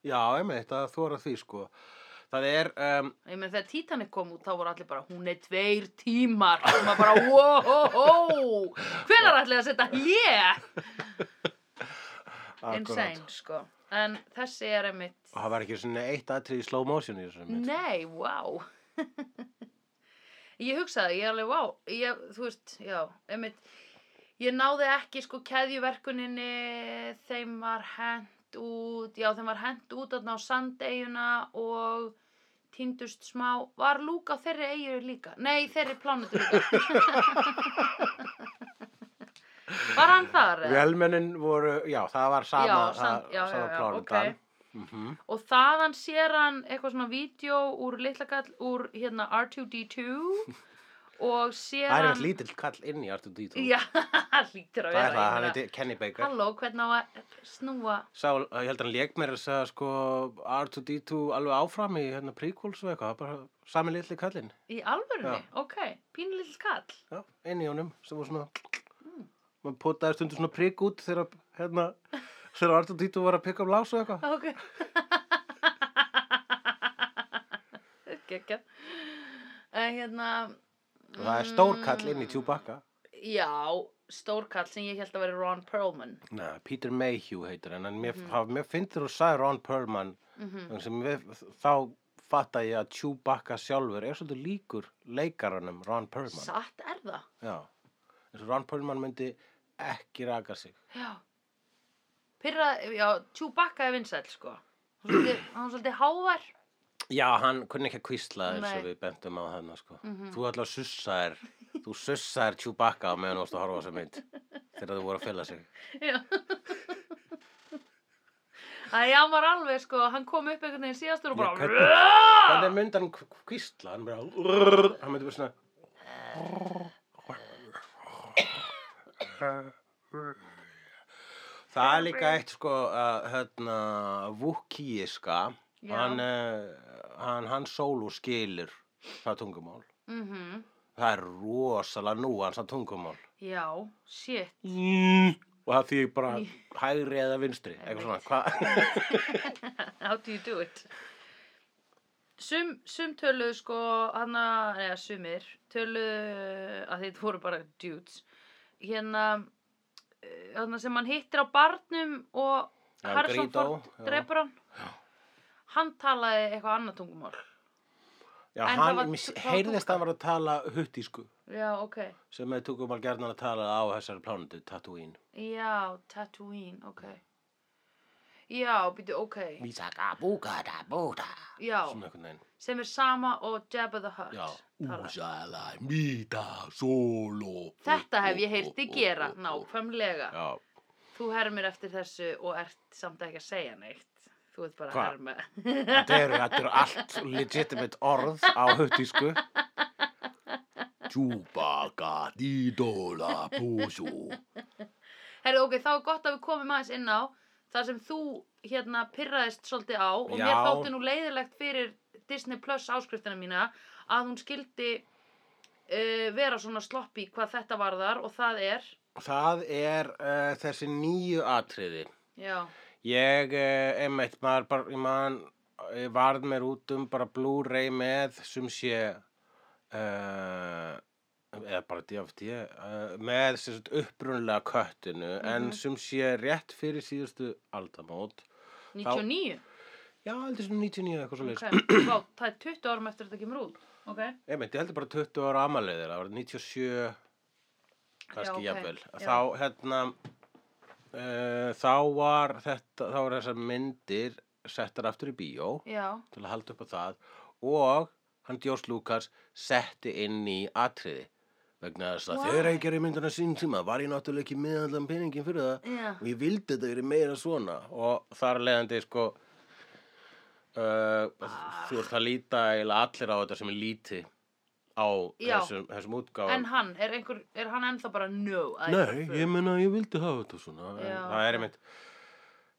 já, einmitt, það þóra því sko. Það er, um, Ég meina þegar Titanic kom út þá voru allir bara hún er tveir tímar og maður bara wow hvenar ætlaði að setja hlje insane sko en þessi er einmitt Og það var ekki svona eitt atrið í slow motion í sko. þessum mynd. nei wow [laughs] ég hugsaði ég alveg wow ég, þú veist já einmitt ég náði ekki sko keðjuverkuninni þeim var hent út já þeim var hent út þarna á sandeyjuna og týndust smá var Lúka þeirri eigu líka nei þeirri plánutu líka [laughs] var hann þar eða? Velmennin voru, já, það var sama, Já, já, sam- já, já, sama já, plánutan. ok. og þaðan sér hann eitthvað svona vídeo úr litlakall úr hérna R2D2 [laughs] og Það er sér hann einhvern lítill kall inn í Artur Dító. já, hlýtur [laughs] að það er það, vera ég hann meina, heiti Kenny Baker. halló, hvernig á að snúa Sá, ég held að hann leik mér að segja sko R2-D2 alveg áfram í hérna prequels og eitthvað, það er bara sami litli kallinn. í alvörunni, Já. ok, pínlítill kall Já, inn í honum, sem var svona, maður potaði stundu svona prik út þegar hérna, þegar R2-D2 var að pikka um lás og eitthvað. [laughs] ok geggja hérna Og það er stór kall inn í Chewbacca. já, stórkall sem ég held að vera Ron Perlman Nei, Peter Mayhew heitir hann, en mér, mm -hmm. mér finnir þú sagði Ron Perlman Mhm. mm mér, þá fatta ég að Chewbacca sjálfur er svolítið líkur leikaranum Ron Perlman satt er það Já, eins og Ron Perlman myndi ekki raka sig Já. Pyrra, já, Chewbacca er vinsæll, sko. Svolítið, hann er svolítið hávar. Já, hann kunni ekki að kvísla eins og Nei. Mhm. við bentum á þarna sko. Þú ætla að sussa þér Þú sussa þér Chewbacca á meðan þú varst að horfa á þessa mynd þegar þú voru að fela sig Já. [laughs] Það já, maður alveg, sko, hann kom upp einhvern veginn síðastur og Já, bara... hvernig- Þannig Hvernig? myndi hann kv- kvísla hann, bara, "Rrrr", hann myndi bara svona Það er líka eitt sko uh, hérna, vukíiska Já. hann, uh, hann, hann sólu skilur það tungumál Mhm, það er rosalega núans að tungumál Já, shit. Mm. og það því bara hægri eða vinstri eitthvað svona hva? How do you do it? Sum, sum töluðu, sko, hann að, neða, sumir, töluðu, að þetta voru bara dudes, hérna, eh, þarna sem hann hittir á barnum og Já, Harrison Greedo, Ford já. drefur hann. Hann talaði eitthvað annað tungumál. Já, En það hann, var- mér það var heyrðist túlkað. að hann var að tala huttísku Já, ok. sem er tungumál gerðan að tala á þessari plánundu Tatooine Já, Tatooine, ok. Já, býtu, ok. Mísaka búka da búta Já, Svona einhvern veginn sem er sama og Jabba the Hutt. Já talar. Úsala mýta solo Þetta hef ég heyrti gera, nákvæmlega. Já, Þú hermir eftir þessu og ert samt ekki að segja neitt. Þú ert bara Hva? að herma. [laughs] [laughs] þetta eru, þetta eru allt legitimate orð á huttísku Chupacadídola búsú. Herðu, ok, þá er gott að við komum aðeins inn á það sem þú hérna pyrraðist svolítið á og mér Já. þótti nú leiðilegt fyrir Disney Plus áskriftina mína að hún skildi uh, vera svona sloppy hvað þetta varðar og það er Það er uh, þessi nýju atriði. já, Ég, uh, einmitt, maður bara, ég man, ég varð mér út um bara Blu-ray með sem sé, uh, eða bara DFT, uh, með sem sagt upprunlega köttinu, en sem sé rétt fyrir síðustu aldamót. 99 Já, heldur sem 99 eitthvað svo leys. [clears throat] okay. Vá, það er 20 árum eftir þetta kemur út ok, Einmitt, ég heldur bara 20 ára amaliðir, það var 97, kannski Já, ok. jafnvel. Já. Þá, hérna, uh, þá var þetta, þá var þessar myndir settar aftur í bíó. já, til að halda upp á það og hann Djós Lukas setti inn í atriði vegna þess að Why? þegar ég gerði myndina sín tíma var ég náttúrulega ekki með allan peningin fyrir það já og ég vildi þetta verið meira svona og þar af leiðandi sko uh, þú ert að líta eiginlega allir á þetta sem er líti á Já. þessum, þessum útgáfum en hann, er, einhver, er hann ennþá bara no I Nei, prefer. ég meina ég vildi hafa þetta svona en Já, það ok. er einmitt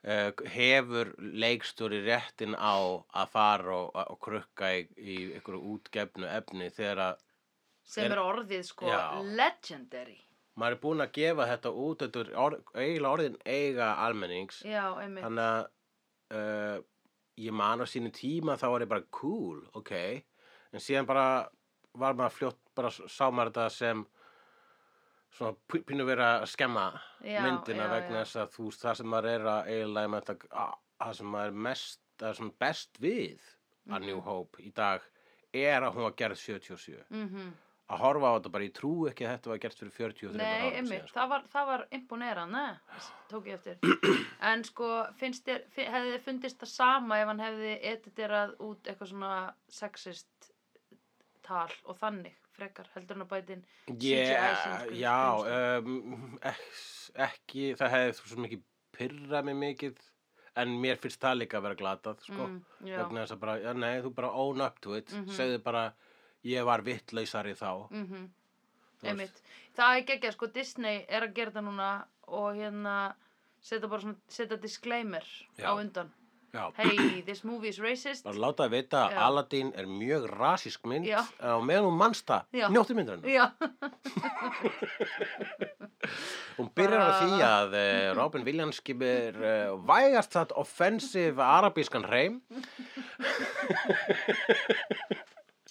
uh, hefur leikstjóri réttin á að fara og, og krukka í, í einhverju útgefnu efni þegar að sem er- er orðið sko Já. legendary maður er búinn að gefa þetta út þetta er orð, eiginlega orðin eiga almennings já, einmitt þannig að uh, ég man á sínu tíma þá var ég bara cool, ok en síðan bara var maður fljótt bara s- sá maður þetta sem svona pí- pínu vera að skemma Já, myndina já, já. vegna þess að þú veist það sem maður er að eiginlega með þetta a- það sem maður er mest, það sem best við að Mhm. New Hope í dag er að hún var gerð 77 mm að horfa á þetta bara, ég trú ekki að þetta var gert fyrir 43 Nei, árum einmitt, síðan sko. það var, það var imponerað, tók ég eftir. [clears throat] En sko, finnst þér, fi- hefði þið fundist það sama ef hann hefði editerað út eitthvað svona sexist tal og þannig, frekar, heldur hann að bætin CGI sem Yeah, skrýmst- já, skrýmst. um, ek- ekki, það hefði þú svo mikið pyrrað mig mikið, en mér finnst það líka að vera glatað, sko. Mm, já. vegna þess að bara, já, nei, þú bara own up to it, Mhm. segðu bara, ég var vittlausari þá. Mm -hmm. þú veist. Einmitt. Það er geggjað, sko, Disney er að gera það núna og hérna setja bara svona, setja disclaimer Já. á undan. Já, [clears throat] Hey, this movie is racist. bara láta að vita að Já. Aladdin er mjög rasísk mynd, Já. en á meðan hún manns það, Já. njóttu myndarinn. Já, Hún byrjar á Bara- Mhm. því að eh, Robin Williams skipir uh, vægast það offensive arabískan hreim,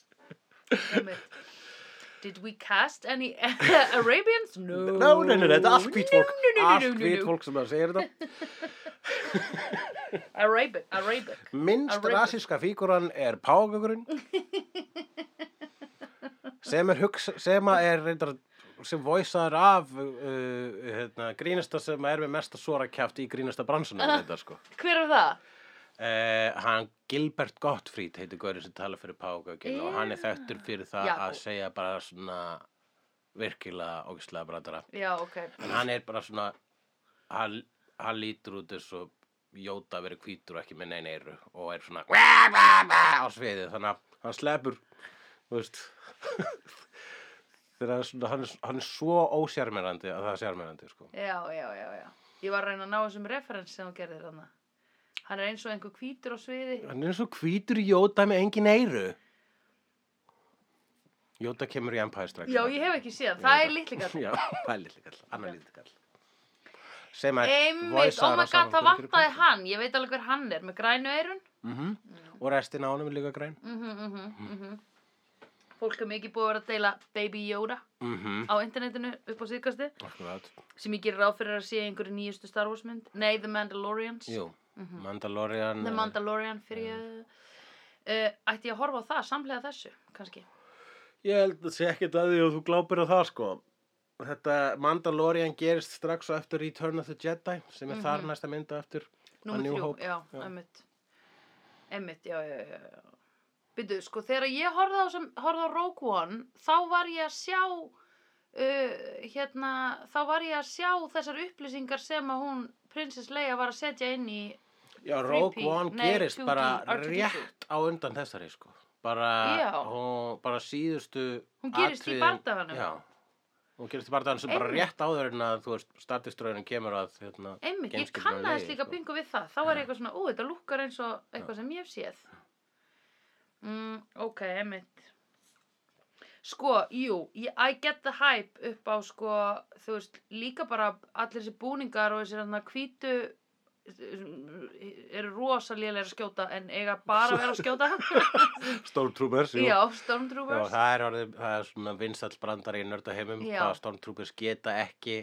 einmitt. Did we cast any [laughs] Arabians? No. No, nei, nei, nei, þetta er allt hvít fólk No, no, no, no, Allt no, hvít no. fólk sem það segir þetta Arabic, Arabic. Minnst Arabic. rasíska fíguran er págögurinn sem er hugsa sem að er reyndar sem voisaður af uh, hérna, grínasta sem er með mesta svora kjæft í grínasta bransunum þetta sko Hver er það? uh, hann Gilbert Gottfried heitir Gaurinn sem talar fyrir págöginn og hann er Já. þekktur fyrir það Já. að segja bara svona virkilega ógislega bratara Já, ok. en hann er bara svona hann, hann lítur út eins og Jóta verið hvítur og ekki með neina eiru og er svona "Wah, wah, wah" á sviðið þannig að hann sleppur þú veist þegar hann er svona, hann, er, hann er svo ósjarmerandi að það er sjarmerandi sko. Já, já, já, já. Ég var að reyna að ná þessum referens sem þú gerðir hann. Hann er eins og einhver hvítur á sviði. hann er svo hvítur Jóta með engin eiru Jóta kemur í Empire Strikes Já, ég hef ekki séð. hann. Það er litli kall galt. [laughs] já, það er litli kall, annar litli kall sem er Einmitt, oh my god, það vantaði hann. Ég veit alveg hver hann er, með grænu eirun. mm og restin á honum er líka græn Mhm, mhm, mhm. Fólk er mikið búið að vera að deila Baby Yoda mhm á internetinu upp á síðkasti Akkurat, sem ég gerir ráð fyrir að sé í einhverju nýjustu Star Wars mynd. Nei, The Mandalorians. jú, Mandalorian Mhm. The eh, Mandalorian fyrir ég Eh, Ætti ég að horfa á það, samlega þessu, kannski Ég held að sé ekkert að því og þú glápir á það sko Þetta Mandalorian gerist strax og eftir Return of the Jedi sem er þar næsta mynda eftir Mhm. Númer New þrjú, Eh, Hope. já, Já. emmitt Emmitt, já, já, já, já. Býtu, sko, þegar ég horfði á, sem, horfði á Rogue One þá var ég að sjá uh, hérna, þá var ég að sjá þessar upplýsingar sem að hún Princess Leia var að setja inn í Já, Rogue 3P, One nei, gerist 2D, bara R2D2. rétt á undan þessari sko bara, Já. hún, bara síðustu Hún gerist í atriðin- bardaganum. já, hún gerist í bardaganum sem bara Einmitt. rétt áður en að þú veist, startistróinu kemur að hérna, Einmitt, ég geimskipinu á kannaðist leiði, líka sko. bingo við það. Þá var ég eitthvað svona, ú, þetta lukkar eins og eitthvað sem ég hef séð. Mm, ok, einmitt. Sko, jú, ég, I get the hype upp á, sko, þú veist, líka bara allir þessi búningar og þessi hérna hvítu eru rosalega að skjóta en eiga bara að vera að [laughs] skjóta. [laughs] Stormtroopers, jú. Já, Já, Stormtroopers. það er orðið, það er svona vinsall brandar í nördaheimum, Já. hvað Stormtroopers geta ekki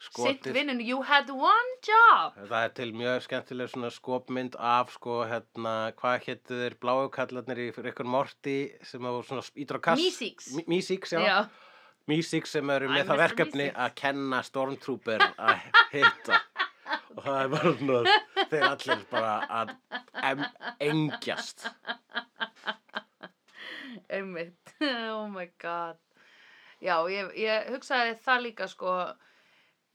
Sitt skotið. vinnun, you had one job. Það er til mjög skemmtileg svona skopmynd af sko hérna, hvað héttu þeir bláu kallarnir í fyrir ykkur morti sem að voru svona ídra kass. Mísíks. M- Mísíks, já. Já. Mísíks sem eru I'm með það Mr. verkefni Mísíks. að kenna Stormtrooper að hitta. Og það er bara svona, þeir allir bara að em, engjast. [laughs] einmitt, oh my god já, ég, ég hugsaði það líka sko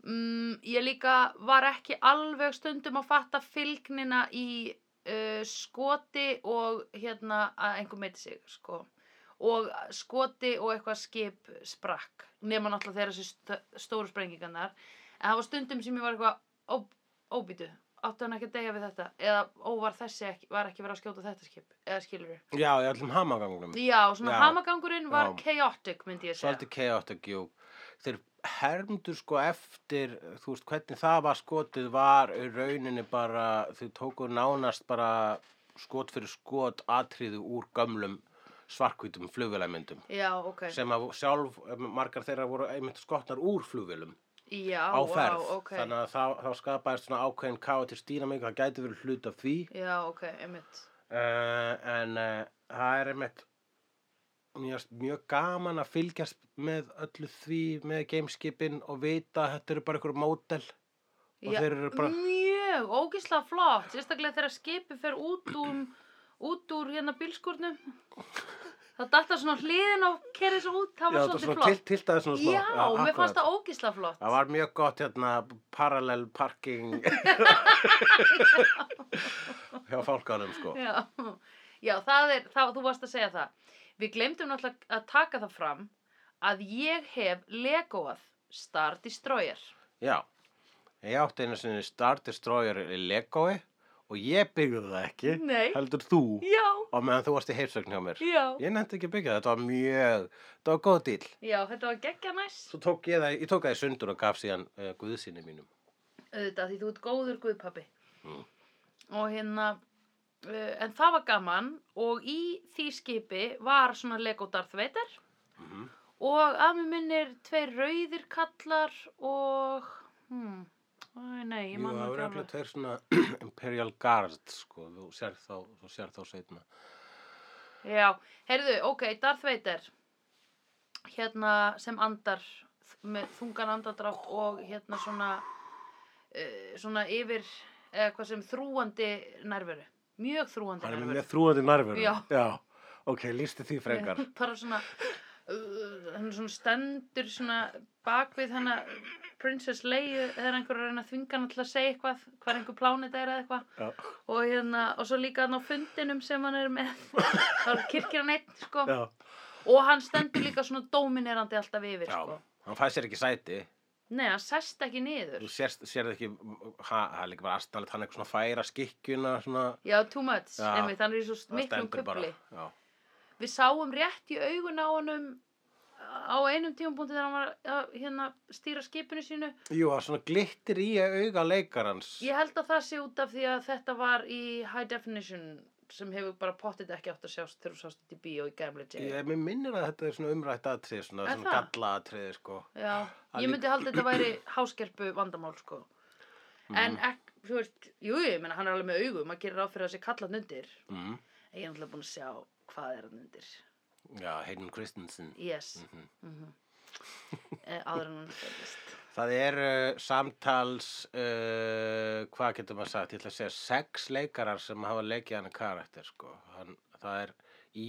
mm, ég líka var ekki alveg stundum að fatta fylgnina í uh, skoti og hérna að einhver meiti sig sko og skoti og eitthvað skip sprakk nema náttúrulega þegar þessi st stóru sprengingarnar en það var stundum sem ég var eitthvað ó- óbýtu, áttu hann ekki að deyja við þetta eða óvar þessi ekki, var ekki verið að skjóta þetta skip eða skilur Já, í öllum hamagangunum. Já, svona Já. hamagangurinn var Já. chaotic, myndi ég segja. Svolítið chaotic, jú. Þeir hermdu sko eftir, þú veist, hvernig það var skotið var í rauninni bara, þau tóku nánast bara skot fyrir skot atriðu úr gömlum svarkvítum flugvélamyndum Já, ok. sem að sjálf, eh, margar þeirra voru einmitt skotnar úr flugvélum Já, á ferð. Wow, ok. Þannig að þá, þá skapaðist svona ákveðin chaotic dýnamík, það gæti verið hlut af því. Já, ok, einmitt. Uh, en uh, það er einmitt mjög, mjög gaman að fylgjast með öllu því með gameskipin og vita að þetta eru bara einhver mótel og Já, þeir eru bara Mjög, ógislega flott, sérstaklega þegar skipið fer út úr, út úr hérna bílskurnum. Það datta svona á hliðin og kerði svo út, það var þetta svolítið svona flott. tilt, tiltaði svona smá Já, mér fannst akkurat. það ógislega flott. það var mjög gott hérna parallel parking [laughs] hjá fálkanum sko Já, já það er, þá, þú varst að segja það. Við glemdum náttúrulega að taka það fram að ég hef legoað Star Destroyer. já, ég átti einu sinni Star Destroyer í Legoi og ég byggði það ekki Nei. heldur þú Já, og meðan þú varst í heimsögn hjá mér Já. Ég nefndi ekki að byggja það, þetta var mjög, þetta var góð dýl. Já, þetta var geggja næs. Svo tók ég það, ég tók það í sundur og gaf síðan uh, guðsinni mínum. Auðvitað, því þú ert góður guðpappi. Mm. Og hérna, uh, en það var gaman og í því skipi var svona Lego Darth Vader Mhm. og að mér minnir tveir rauðir kallar og, hmm, æ, nei, ég Jú, man það það voru ekki eitthvað alveg. tveir svona [clears throat] Imperial Guard, sko, þú sér þá, þú sér þá seinna. Já, heyrðu, ok, Darth Vader, hérna sem andar, þ- með þungan andadrátt og hérna svona, uh, svona yfir, eða hvað sem þrúandi nærveru. Mjög þrúandi Hann er nærveru. með mjög þrúandi nærveru. Já. Já, ok, lístu því frekar. [laughs] bara svona uh, hann svona stendur svona bak við hana Princess Leia þegar einhver er að reyna að þvinga hann til að segja eitthvað hvað einhver plánið er eða eitthvað Já, og, hérna, og svo líka hann á fundinum sem hann er með [laughs] þá kirkir hann einn [laughs] sko. já. og hann stendur líka svona dóminerandi alltaf yfir Já, sko. hann fæði sér ekki sæti, nei, hann sest ekki niður þú sér, sér ekki, ha, það er líka bara astanlega, hann er eitthvað svona að færa skikkjuna, svona, já, too much, Já. einmitt, hann er í svo það miklum stendur bara. kubli Já, við sáum rétt í augun á honum á einum tímapunkti þegar hann var að hérna, stýra skipinu sínu Jú, það er svona glittir í auga leikarans. Ég held að það sé út af því að þetta var í high definition sem hefur bara pottit ekki átt að sjást þegar þú sást þetta í bíó í Gamle J. Ég, mér minnir að þetta er svona umrætt aðtrið, svona, Er svona það? galla aðtrið, sko. Já, Það ég líka- myndi halda að þetta [clears throat] væri háskerpu vandamál sko. Mm. En ekki, þú veist, jú, ég meina hann er alveg með augum, maður gerir ráð fyrir að sé kallat undir. Mm. En Ég er náttúrulega búin að sjá hvað er hann undir. Já, Hayden Christensen. Yes. Mm -hmm. áður en hann fæðist. Það eru samtals, uh, hvað getur maður sagt, ég ætla að segja sex leikarar sem hafa leikið hann karakter, sko. Hann, það er í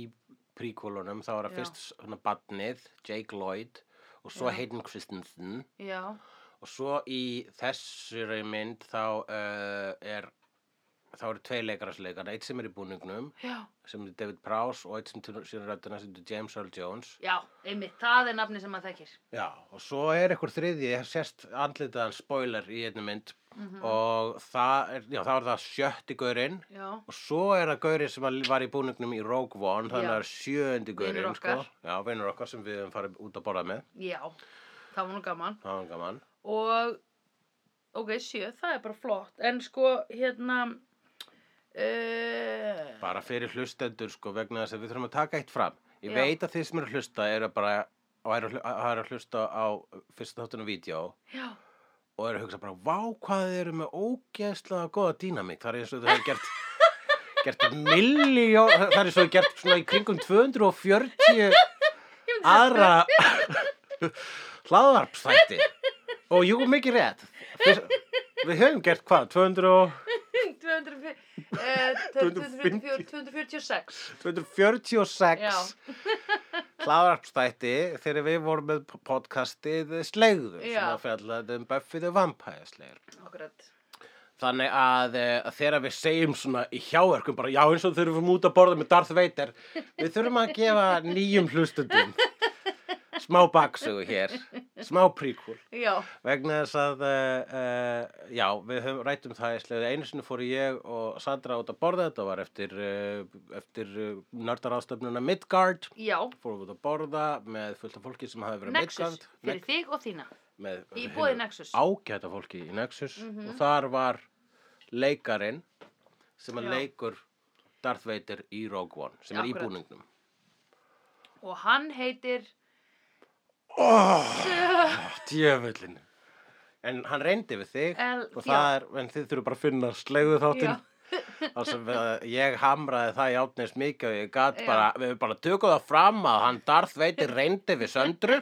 príkólunum, þá er það Já. fyrst svona badnið, Jake Lloyd, og svo Hayden Christensen. Já, Og svo í þessari mynd þá uh, er þá eru tvei leikarasleikar, eitt sem er í búningnum já, sem er David Prowse og eitt sem tennur sér rættina sem er James Earl Jones já, einmitt, það er nafni sem maður þekkir. Já, og svo er einhver þriðji, ég hef sérst andlitaðan spoiler í einni mynd Mhm. og það er, já, þá er það sjötti gaurinn Já, og svo er það gaurinn sem að var í búningnum í Rogue One, þannig að Já. það er sjöndi Vinur gaurinn, sko. okkar. Já, vinur okkar sem við höfum farið út að borða með, já, það var nú gaman. það var gaman. og ok, sjö, það er bara flott en sko, hérna uh, Bara fyrir hlustendur, sko, vegna þess að við þurfum að taka eitt fram. Ég Já. veit að þið sem eru að hlusta eru bara, og eru að hlu- að eru að hlusta á fyrsta þáttunum vídeo já, og eru að hugsa bara, vá hvað þið eru með ógeðslega góða dýnamík. Það er eins og þau hafa [laughs] gert, gert miljón, það er eins og þau gert svona í kringum 240 Ah. aðra [laughs] hlaðvarpstætti. Og jú, mikið rétt. Fyrst, við höfum gert hvað, 200 og... 250, eh, 254 246 Já. [laughs] 246 hlaðarpstætti þegar við vorum með p- podcastið Slegður sem Já. að fjallaði um Buffy the Vampire Slayer. akkurat Þannig að, eh, að þegar við segjum svona í hjáverkum bara já eins og þurfum út að borða með Darth Vader við þurfum að gefa nýjum hlustundum smá baksugu hér, smá príkul já, vegna þess að uh, uh, já, við höfum rætt um það í slegðu einu sinni fór ég og Sandra út að borða þetta var eftir, uh, eftir uh, nördaráðstöfnuna Midgard já fórum við út að borða með fullt af fólki sem hafi verið á Nexus, Midgard fyrir þig og þína með Í hinu boði Nexus. Mhm. ágæta fólki í Nexus og þar var leikarinn sem að Já. leikur Darth Vader í Rogue One sem er í Akkurat. búningnum og hann heitir djöfullin en hann reyndi við þig El- og já. það er, en þið þurfum bara að finna slegðu þáttinn [laughs] þar sem við, ég hamraði það í átneins mikið og ég gat Já. bara, við bara tökum það fram að hann Darth Vader reyndi við söndru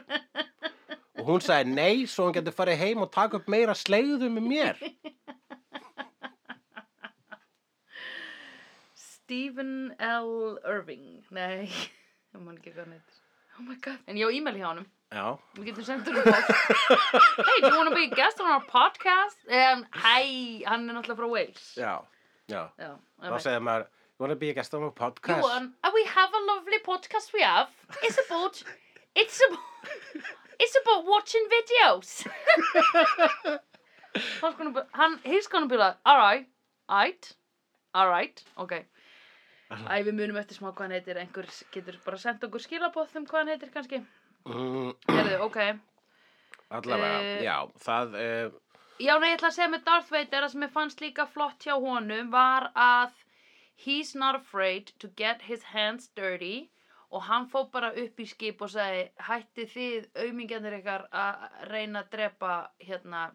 og hún sagði nei svo hann getur farið heim og taka upp meira slegðu með mér [laughs] Stephen L. Irving nei, [laughs] ég man ekki hvað hann heitir oh my god, en ég á e-mail hjá honum já, Við getum sendur um það. hey, do you want to be a guest on our podcast? Um, hæ, hann er náttúrulega frá Wales. já, já Já, þá alright. segði maður, you wanna be a guest on my Go podcast on. And we have a lovely podcast we have. It's about, it's about, it's about watching videos. Hans gonna be, hann, he's gonna be like, alright, alright, alright, ok. Æ, við munum eftir smá hvað hann heitir, einhver getur bara sendt okkur skilabóð um hvað hann heitir kannski. mm, Herðu, ok. allavega, Eh, já, það uh, Já, nei, ég ætla að segja með Darth Vader að sem ég fannst líka flott hjá honum var að he's not afraid to get his hands dirty og hann fó bara upp í skip og sagði hætti þið aumingjarnir ykkar að reyna að drepa hérna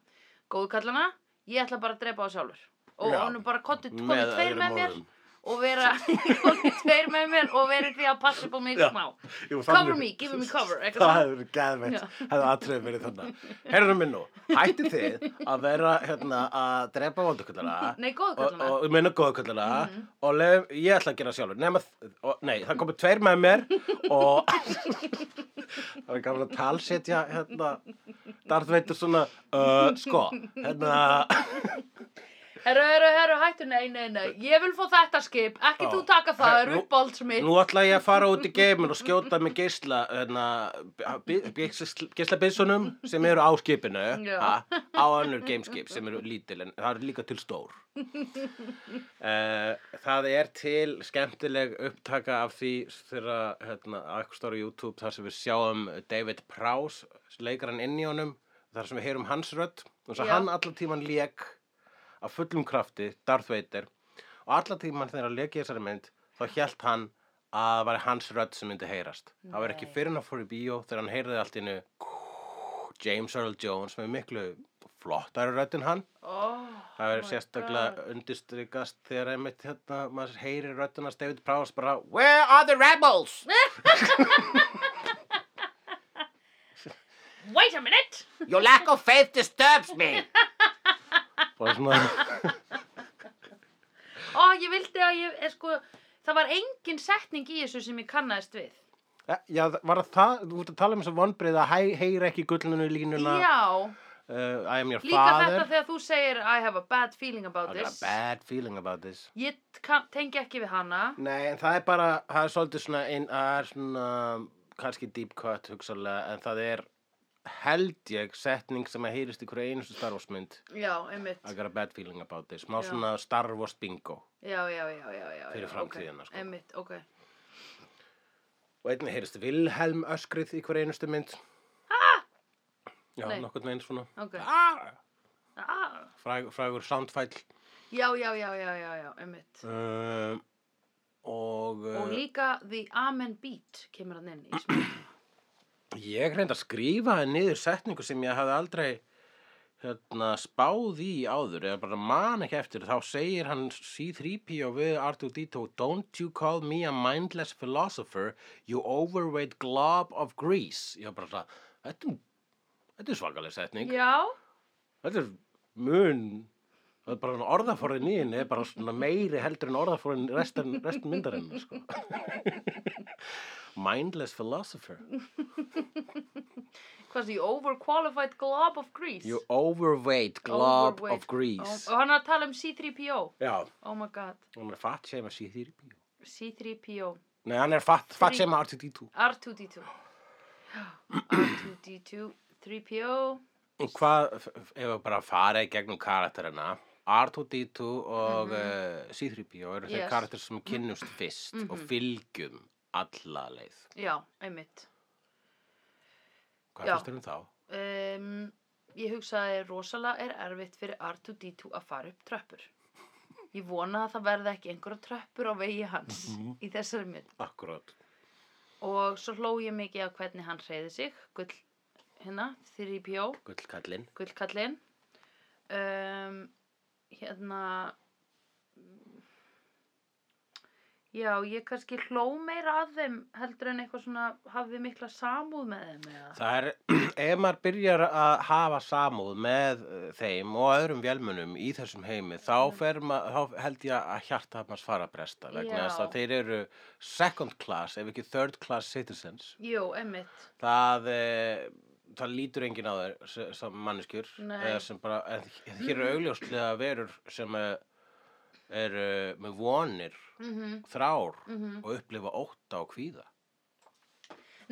góðkallana ég ætla bara að drepa þá sjálfur og Já, honum bara kottu með tveir öðrum með mér orðum. og vera [laughs] komdu tveir með mér og verið því að passa upp á mig Já. smá Jú, cover þannig- me, give me cover eitthvað Það svona. hefur verið geðveitt, hefði aðtrefið verið [laughs] þannig. Herru minn nú, hætti þið að vera hérna að drepa vondukallara [laughs] Nei, Mhm. góðkallana. og, og meina góðkallara og lef, ég ætla að gera það sjálfur. Nema, þ- og, nei, það komið tveir með mér [laughs] og það er gaman að talsetja hérna Darth Vader svona, uh, sko, hérna, Herru, herru, herru, hættu, nei, nei, nei, ég vil fá þetta skip, ekki Já. þú taka það, það er Nú- uppáhalds mitt. nú ætla ég að fara út í geimin og skjóta með geisla, hérna, geislabissunum sem eru á skipinu, Já. ha, á önnur geimskip sem eru lítil en það eru líka til [laughs] stór. Uh, það er til skemmtileg upptaka af því þegar hérna, á eitthvað stóru YouTube þar sem við sjáum David Prowse, leikaran inn í honum, þar sem við heyrum hans rödd og þess að Já. hann allan tíman lék af fullum krafti, Darth Vader og allan tíman þegar hann lék í þessari mynd þá hélt hann að það væri hans rödd sem myndi heyrast. Það var ekki Nei. fyrir hann fór í bíó þegar hann heyrði allt í innu James Earl Jones með miklu flottari rödd en hann Oh, Það my verður sérstaklega undirstrykast þegar einmitt hérna, maður heyrir röddunast David Prowse bara Where are the rebels? God. Wait a minute! Your lack of faith disturbs [laughs] me Bara svona Ó, ég vildi að ég, eh, sko, það var engin setning í þessu sem ég kannaðist við. e, Já, var það, þú ert að tala um þess að vonbrið að heyra ekki gullinu línuna Já, uh, I am your Líka father þetta þegar þú segir I have a bad feeling I about got a this. bad feeling about this Ég kann- tengi ekki við hana. Nei, en það er bara, það er svolítið svona, ein, það er svona, um, kannski deep cut hugsalega, en það er, held ég, setning sem að heyrist í hverju einustu Star Wars mynd, Já, einmitt. I got a bad feeling about this, má Já. svona Star Wars bingo. Já, já, já, já, já. Fyrir já, framtíðina, ok. sko. Einmitt, ok. Og einnig heyrist Vilhelm öskrið í hverju einustu mynd. Já, Nei. nokkurn veginn svona. Ok. Ah! Ah, Fræg, frægur soundfæll. já, já, já, já, já, já, einmitt. Um, og Og uh, líka The Amen Beat kemur hann inn í spil. ég reyndi að skrifa niður setningu sem ég hafði aldrei hérna, spáð í áður eða bara man ekki eftir þá segir hann C-3PO við R2-D2 Don't you call me a mindless philosopher you overweight glob of grease ég var bara svona, þetta, er- þetta er svakaleg setning Já, þetta er mun það er bara orðaforðin í henni er bara svona meiri heldur en orðaforðin restan, restan myndarinn sko. [laughs] mindless philosopher hvað því, overqualified glob of grease. you overweight glob Overweight. of grease Og, og hann er að tala um C-3PO. já, Oh my god, hann er fatt sem að sé þýr C-3PO. nei, hann er fatt, fatt sem að R2D2 R2-D2. R2-D2, 3PO. og hvað, f- f- ef við bara fara í gegnum karakterina R2D2 og mm C-3PO eru þeir Mhm. Yes. Mhm. karakter sem kynnust fyrst og fylgjum alla leið Já, einmitt. hvað Já. fyrst erum þá? um, ég hugsaði rosalega er erfitt fyrir R2-D2 að fara upp tröppur. Ég vona að það verði ekki einhverja tröppur á vegi hans í þessari mynd. akkurat Og svo hló ég mikið af hvernig hann hreyði sig, gull, hérna, 3PO, gullkallinn gullkallinn. Um, hérna, já, ég kannski hló meira að þeim heldur en eitthvað svona hafði mikla samúð með þeim eða. Það er, [clears throat] ef maður byrjar að hafa samúð með eh, þeim og öðrum vélmunum í þessum heimi, þá, fer maður, þá held ég að hjarta hans fara að bresta vegna Já. þess að þeir eru second class, ef ekki third class citizens. Jú, emmitt, Það, e, það lítur enginn á þeir se- sem manneskjur, Nei. eða sem bara, en hér eru augljóslega verur sem eh, eru með vonir, mhm. þrár Mhm. og upplifa ótta og kvíða.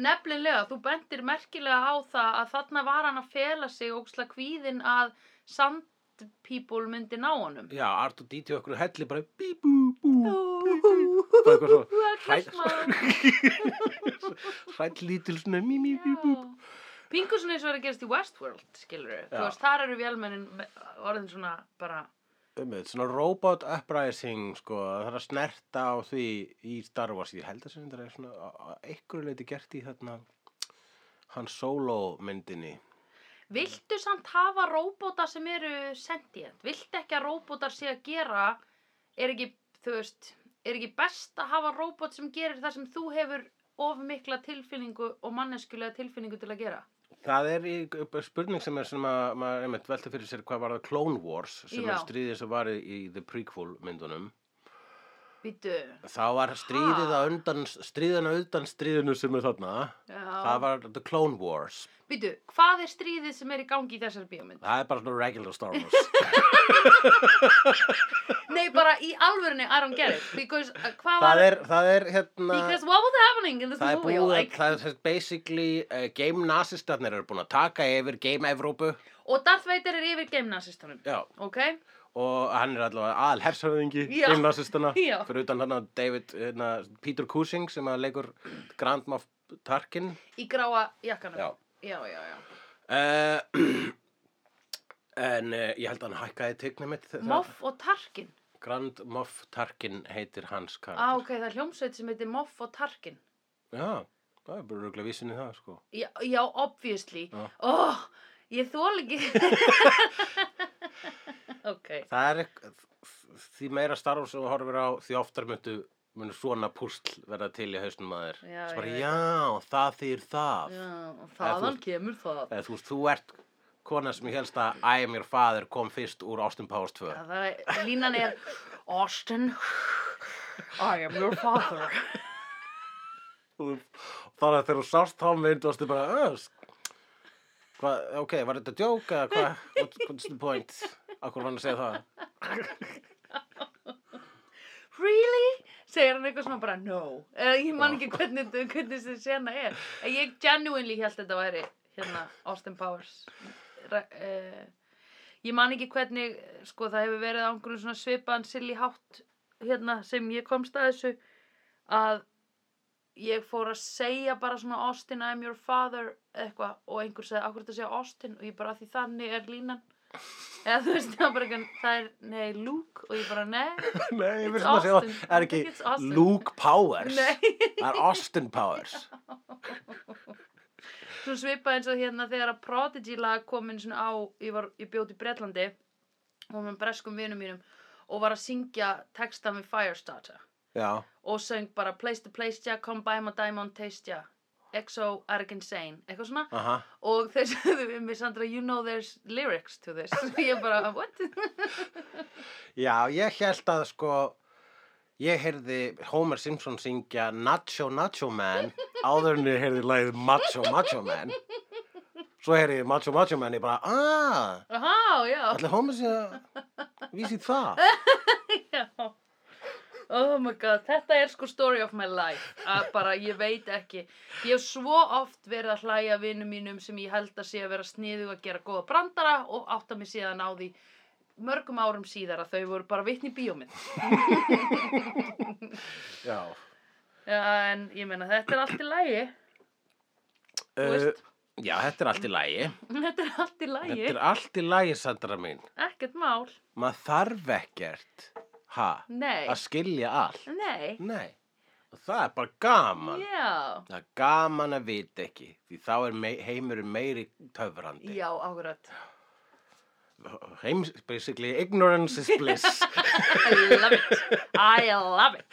Nefnilega, þú bendir merkilega á það að þarna var hann að fela sig og óksla kvíðin að sandpípul myndi ná honum. Já, Art og Díti okkur helli bara bí bú bú bí, bí, bara eitthvað svo hrætt [laughs] hrætt lítil svona mí mí bí bú Pingu svona eins og er að gerast í Westworld, skilur við. Þú Já. veist, þar eru vélmennin me- orðin svona bara, Einmitt, Svona robot uprising sko, það er að snerta á því í Star Wars, ég held að sem þetta er svona að- að einhverju leiti gert í þarna hann solo myndinni viltu samt hafa róbóta sem eru sentient? Viltu ekki að róbótar sé að gera, er ekki, þú veist, er ekki best að hafa róbót sem gerir það sem þú hefur of mikla tilfinningu og manneskulega tilfinningu til að gera? Það er í, spurning sem er sem að maður einmitt velta fyrir sér hvað var það Clone Wars sem Já. er stríðið sem var í, í The Prequel myndunum Býtu. þá var stríðið Ha? að undan stríðan að undan stríðinu sem er þarna Það var The Clone Wars. Býtu, hvað er stríðið sem er í gangi í þessari bíómynd? Það er bara svona regular Star Wars. Nei, bara í alvörinu, I don't get it. Because, uh, hvað var... það er, það er hérna... Because what was happening in this Það er movie? búið að, like, það er sem sagt basically, uh, game nazistarnir eru búin að taka yfir game Evrópu. Og Darth Vader er yfir geimnasistunum. Já. Ok? Og hann er allavega aðal hershöfðingi Já. game nazistana. Já. Fyrir utan hann að David, hérna, Peter Cushing sem að leikur Grand Moff Tarkin. Í gráa jakkanum. Já. Já, já, já. Uh, [clears throat] en uh, ég held að hann hækkaði tegnum mitt. þegar- Moff og Tarkin. Grand Moff Tarkin heitir hans Á, karakter. ok, það er hljómsveit sem heitir Moff og Tarkin. Já, það er bara röglega vísin í það, sko. Já, já obviously. Já. Ó, ég [laughs] þól ekki. ok. Það er ekk- þ- því meira starf sem þú horfir á því oftar myndu mun svona púsl verða til í hausnum að þér. Já, Svo bara, ég veit já, það þýr það. Já, og Eða þú- þaðan kemur það. Eða, þú veist, þú ert kona sem ég helst að æja mér faður kom fyrst úr Austin Powers 2. Já, það er, línan er Austin, I am your father. Þú- Þannig að þegar þú sást þá myndast þið bara, ösk. Hva, ok, var þetta djók eða hvað, what, what's the point? Akkur var hann að segja [laughs] það? really? segir hann eitthvað svona bara no eða ég man ekki hvernig, þetta- hvernig þessi sena er en ég genuinely held þetta væri hérna Austin Powers uh, ég man ekki hvernig eh, sko það hefur verið á einhverjum svona svipaðan silly hátt hérna sem ég komst að þessu að ég fór að segja bara svona Austin I'm your father eitthvað og einhver segði akkur þetta segja Austin og ég bara "Af því þannig er línan eða þú veist það var bara eitthvað það er nei Luke og ég bara nei Nei, ég It's veist maður að Austin. segja, er I think it's ekki Austin. Luke Powers? nei Það er Austin Powers. [laughs] Svo svipað eins og hérna þegar að Prodigy lag kom einu svona á, ég, var, ég bjóti í Bretlandi og var með breskum vinum mínum og var að syngja textan við Firestarter Já, og söng bara Place to Place Ya, Come By My Diamond Taste Ya, EXO, Eric Insane, eitthvað svona aha. og þeir [laughs] sagði við mig Sandra, you know there's lyrics to this [laughs] ég bara, what? Já, ég held að sko, ég heyrði Homer Simpson syngja Nacho Nacho Man áður en ég heyrði lagið Macho Macho Man. Svo heyrði ég Macho Macho Man, ég bara, aaa, Aha, já, ætli Homer sé að vísi það? já Oh my god, þetta er sko story of my life að bara ég veit ekki ég hef svo oft verið að hlæja vinnum mínum sem ég held að sé að vera sniðug að gera góða brandara og átta mig síðan á því mörgum árum síðar að þau voru bara vitni í bíómynd Já. ja, en ég meina þetta er allt í lægi Þú Uh, veist. já, þetta er allt í lægi. þetta er allt í Þetta lægi, er allt í lægi, Sandra mín. ekkert mál Maður þarf ekkert, ha, nei, að skilja allt. nei Nei, og það er bara gaman. já, Það er gaman að vita ekki, því þá er mei, heimurinn meiri töfrandi. já, ákvörðat Heims, basically, ignorance is [laughs] bliss. I love it, I love it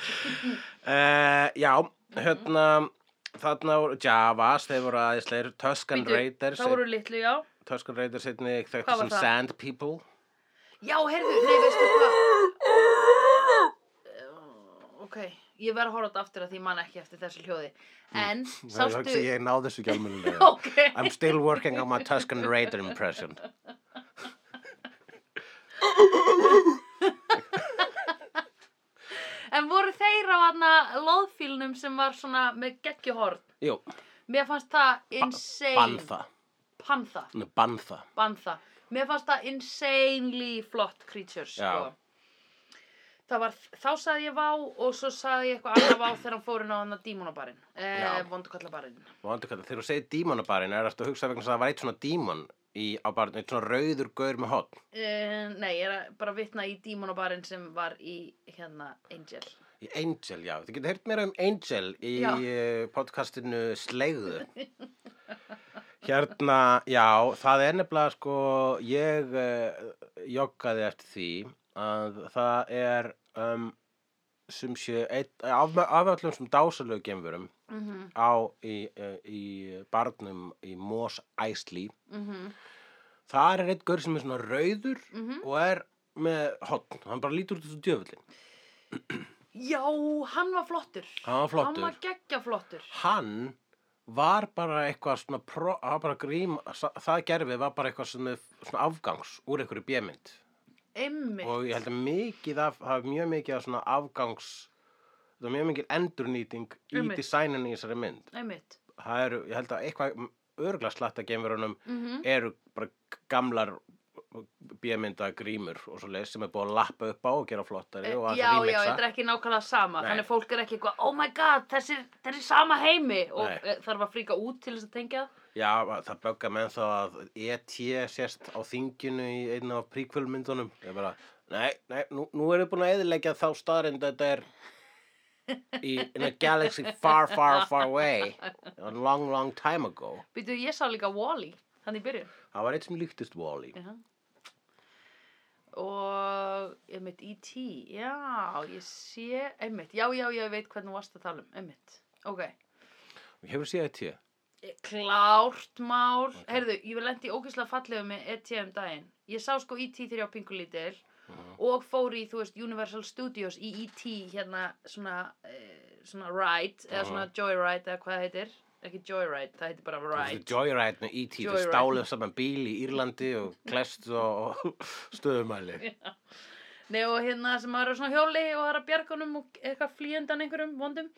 uh, já, hérna, þarna voru Javas, þeir voru aðeinsleir, Tuscan Bíddu, Raiders, þá voru litlu, já Tuscan Raiders einni þekktu Hvað var sem það? Sand People. Já, heyrðu, nei, veistu hvað Ok, ég verð að horfa á þetta aftur að því ég man ekki eftir þessu hljóði Hm, En, Sástu... sástu Ég náði þessu ekki almennilega. [laughs] Ok, I'm still working on my Tuscan Raider impression. en voru þeir á hana loðfílnum sem var svona með geggjuhorn Jú, Mér fannst það insane Bantha. Pantha, Nei, Bantha. Bantha Mér fannst það insanely flott creatures Já. sko. Það var, þá sagði ég vá og svo sagði ég eitthvað annað vá þegar hann fór inn á hana dímonabarinn, eh, Já. vondukallabarinn. Vondu hvað, þegar þú segir dímonabarinn er þetta að hugsa vegna þess að það var eitt svona dímon í, á barinn, eitt svona rauður gaur með hotn. Uh, nei, ég er að bara vitna í dímonabarinn sem var í hérna Angel. Í Angel, já. Þið getur heyrt meira um Angel í Já. já. podcastinu Slegðu. Hérna, já, það er nefnilega sko, ég uh, joggaði eftir því að það er um, sem sé, eitt, af, af öllum sem dásalögu gemfurum Mm -hmm, á í, uh, í barnum í Mos Eisley mm -hmm, þar er einn gaur sem er svona rauður mm og er með hotn hann bara lítur út þessu djöfullin Já, hann var flottur. hann var Hann var flottur geggja flottur. hann var bara eitthvað svona pro, hann var bara grím, það gerfið var bara eitthvað svona, svona afgangs úr einhverju bjömynd Einmitt. og ég held að mikið af, það er mjög mikið af svona afgangs það er mjög mikið endurnýting í Einmitt. designinu í þessari mynd Einmitt. það eru, ég held að eitthvað örgla slatta gemverunum Mm eru bara gamlar bíamynda grímur og svo leið sem er búið að lappa upp á og gera flottari og Eh, já, að já, þetta remixa er ekki nákvæmlega sama. Nei. Þannig að fólk er ekki eitthvað, oh my god, þessi, þessi sama heimi. Og Nei. e, þarf að fríka út til þess að tengja það. Já, það bögga menn þá að E.T. sérst á þinginu í einu af príkvölmyndunum Ég bara, nei, nei, nú, nú erum við búin að eðilegja þá staðrind að þetta er í in a galaxy far, far, far away a long, long time ago Býtu, ég sá líka Wall-E, þannig í byrjun. Það var eitt sem líktist Wall-E Já. Og einmitt E.T. Já, ég sé, einmitt, já, já, já, ég veit hvernig þú varst að tala um, einmitt. Ok, Hefur séð E E.T.? klárt mál. Heyrðu, ég var lent í ógeðslega fallegu með E.T. um daginn. Ég sá sko E.T. þegar ég á Pingulítil og fór í, þú veist, Universal Studios E eh, í E.T. hérna svona, uh, svona ride, eða svona joyride eða hvað það heitir. ekki Joyride, það heitir bara Ride Joyride með E.T. Þau Joyride. stáluð saman bíl í Írlandi og klest og og [laughs] stöðumæli. Nei og hérna sem maður er á svona hjóli og það er að bjarga honum og eitthvað flýjandan einhverjum vondum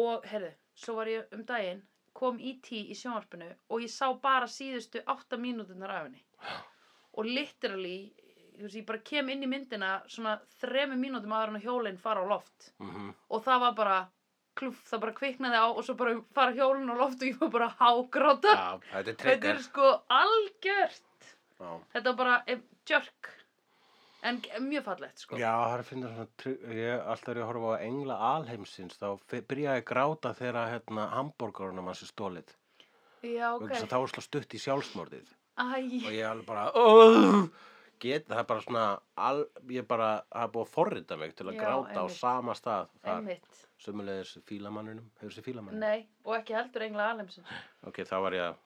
og herðu, svo var ég um daginn kom E.T. í sjónvarpinu og ég sá bara síðustu átta mínúturnar af henni og literally þú veist, ég bara kem inn í myndina svona þremur mínútum áður en að hjólinn fara á loft Mhm. og það var bara klúf, það bara kviknaði á og svo bara fara hjólinn á loft og ég var bara hágráta Já, þetta er [laughs] þetta er trigger. sko algjört Já. þetta var bara eh, jerk en g- mjög fallegt sko Já, það er að finna svona, tr- ég, alltaf er ég að horfa á engla alheimsins, þá fe- byrjaði ég að gráta þegar hérna, hambúrgarunum hans er stólið. Já, ok. Okay. Það var slá stutt í sjálfsmorðið og Æ, ég alveg bara, "Ugh." get, það er bara svona, al, ég bara, það er búið að forrita mig til að Já, gráta á einmitt. sama stað. Það er einmitt. sömulegis fílamanninum, hefur þessi fílamanninum? Nei, og ekki heldur engla alheimsins. Ok, þá var ég að,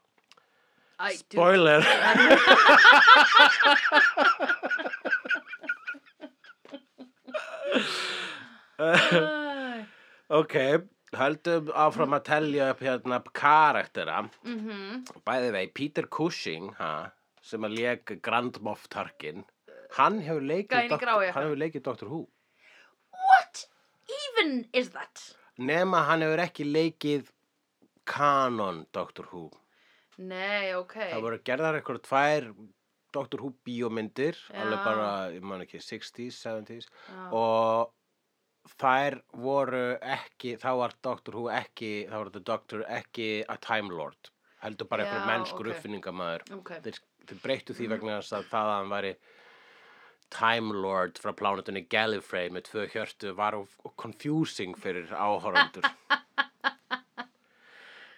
Æ, dude. spoiler! [laughs] Æ, Ok, höldum áfram að telja upp hérna karaktera. mhm. Bæði vei, Peter Cushing, ha, sem að leik Grand Moff Tarkin, hann hefur leikið, Gæinn í gráu jakkanum. hann hefur leikið Dr. Who. What even is that? Nema hann hefur ekki leikið kanon Dr. Who. Nei, ok. Það voru gerðar eitthvað tvær Dr. Who bíómyndir, Já. alveg bara, ég man ekki, 60s, 70s. Já. Og þær voru ekki, þá var Dr. Who ekki, þá var The Doctor ekki a Time Lord. Heldur bara Já, eitthvað mennskur ok. uppfinningamaður. Ok, þeir, þeir breyttu því vegna þess að það að hann væri Time Lord frá plánetunni Gallifrey með tvö hjörtu var of- of confusing fyrir áhorfandur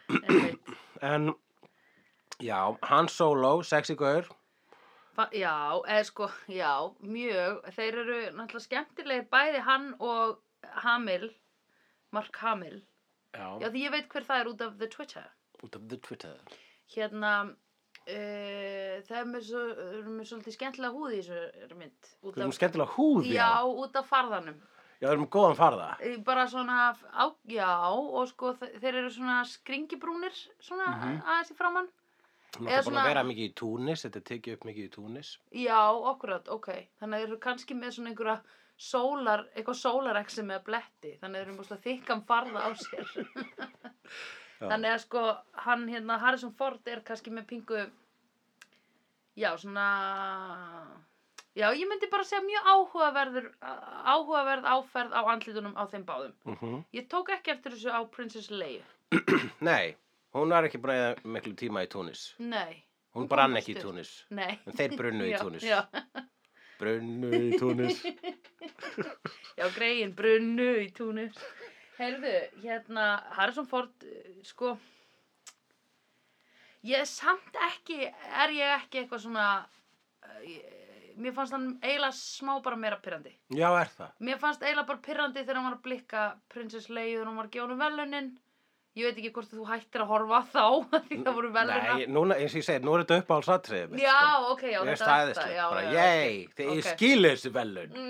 einmitt. en já, Han Solo, sexy gaur Fa- Já, eða sko, já, mjög. Þeir eru náttúrulega skemmtilegir bæði hann og Hamill, Mark Hamill. Já, já, því ég veit hver það er út af The Twitter. út af the Twitter hérna uh, það er mér, svo, er mér svolítið skemmtilega húð í þessu mynd út við erum skemmtilega húð, já, já út af farðanum já, við erum góðan farða Eh, bara svona, á, já og sko þe- þeir eru svona skringibrúnir svona aðeins í framann við Eða erum búin svona- að vera mikið í Túnis, þetta er tekið upp mikið í Túnis já, okkurat, ok þannig að þeir eru kannski með svona einhverja sólar, eitthvað sólareksi með bletti þannig að þeir eru mjög þykkan farða á sér þannig að sko hann hérna Harrison Ford er kannski með pingu já svona já ég myndi bara segja mjög áhugaverður áhugaverð áferð á andlitunum á þeim báðum mm ég tók ekki eftir þessu á Princess Leia nei, hún var ekki bara miklu tíma í Túnis nei hún, Hún kom brann bara ekki í stutt. Túnis nei en þeir brunnu í Já, Túnis já, brunnu í Túnis [laughs] já greiðin brunnu í túnis heyrðu hérna Harrison Ford eh, sko ég er samt ekki er ég ekki eitthvað svona eh, ég- mér fannst hann eiginlega smá bara meira pyrrandi já, er það Mér fannst eiginlega bara pirrandi þegar hann var að blikka Princess Leia þegar hann var að gefa honum velunin. Ég veit ekki hvort þú hættir að horfa á þá [laughs] af því það voru veluna. Nei, núna, eins og ég segi, nú er þetta upp á alls atriðið mitt, já, sko. ok, já, Ég er er þetta. stæðislega, Já, bara, já, yey, ok, þið ég ok. skilu þessu velun.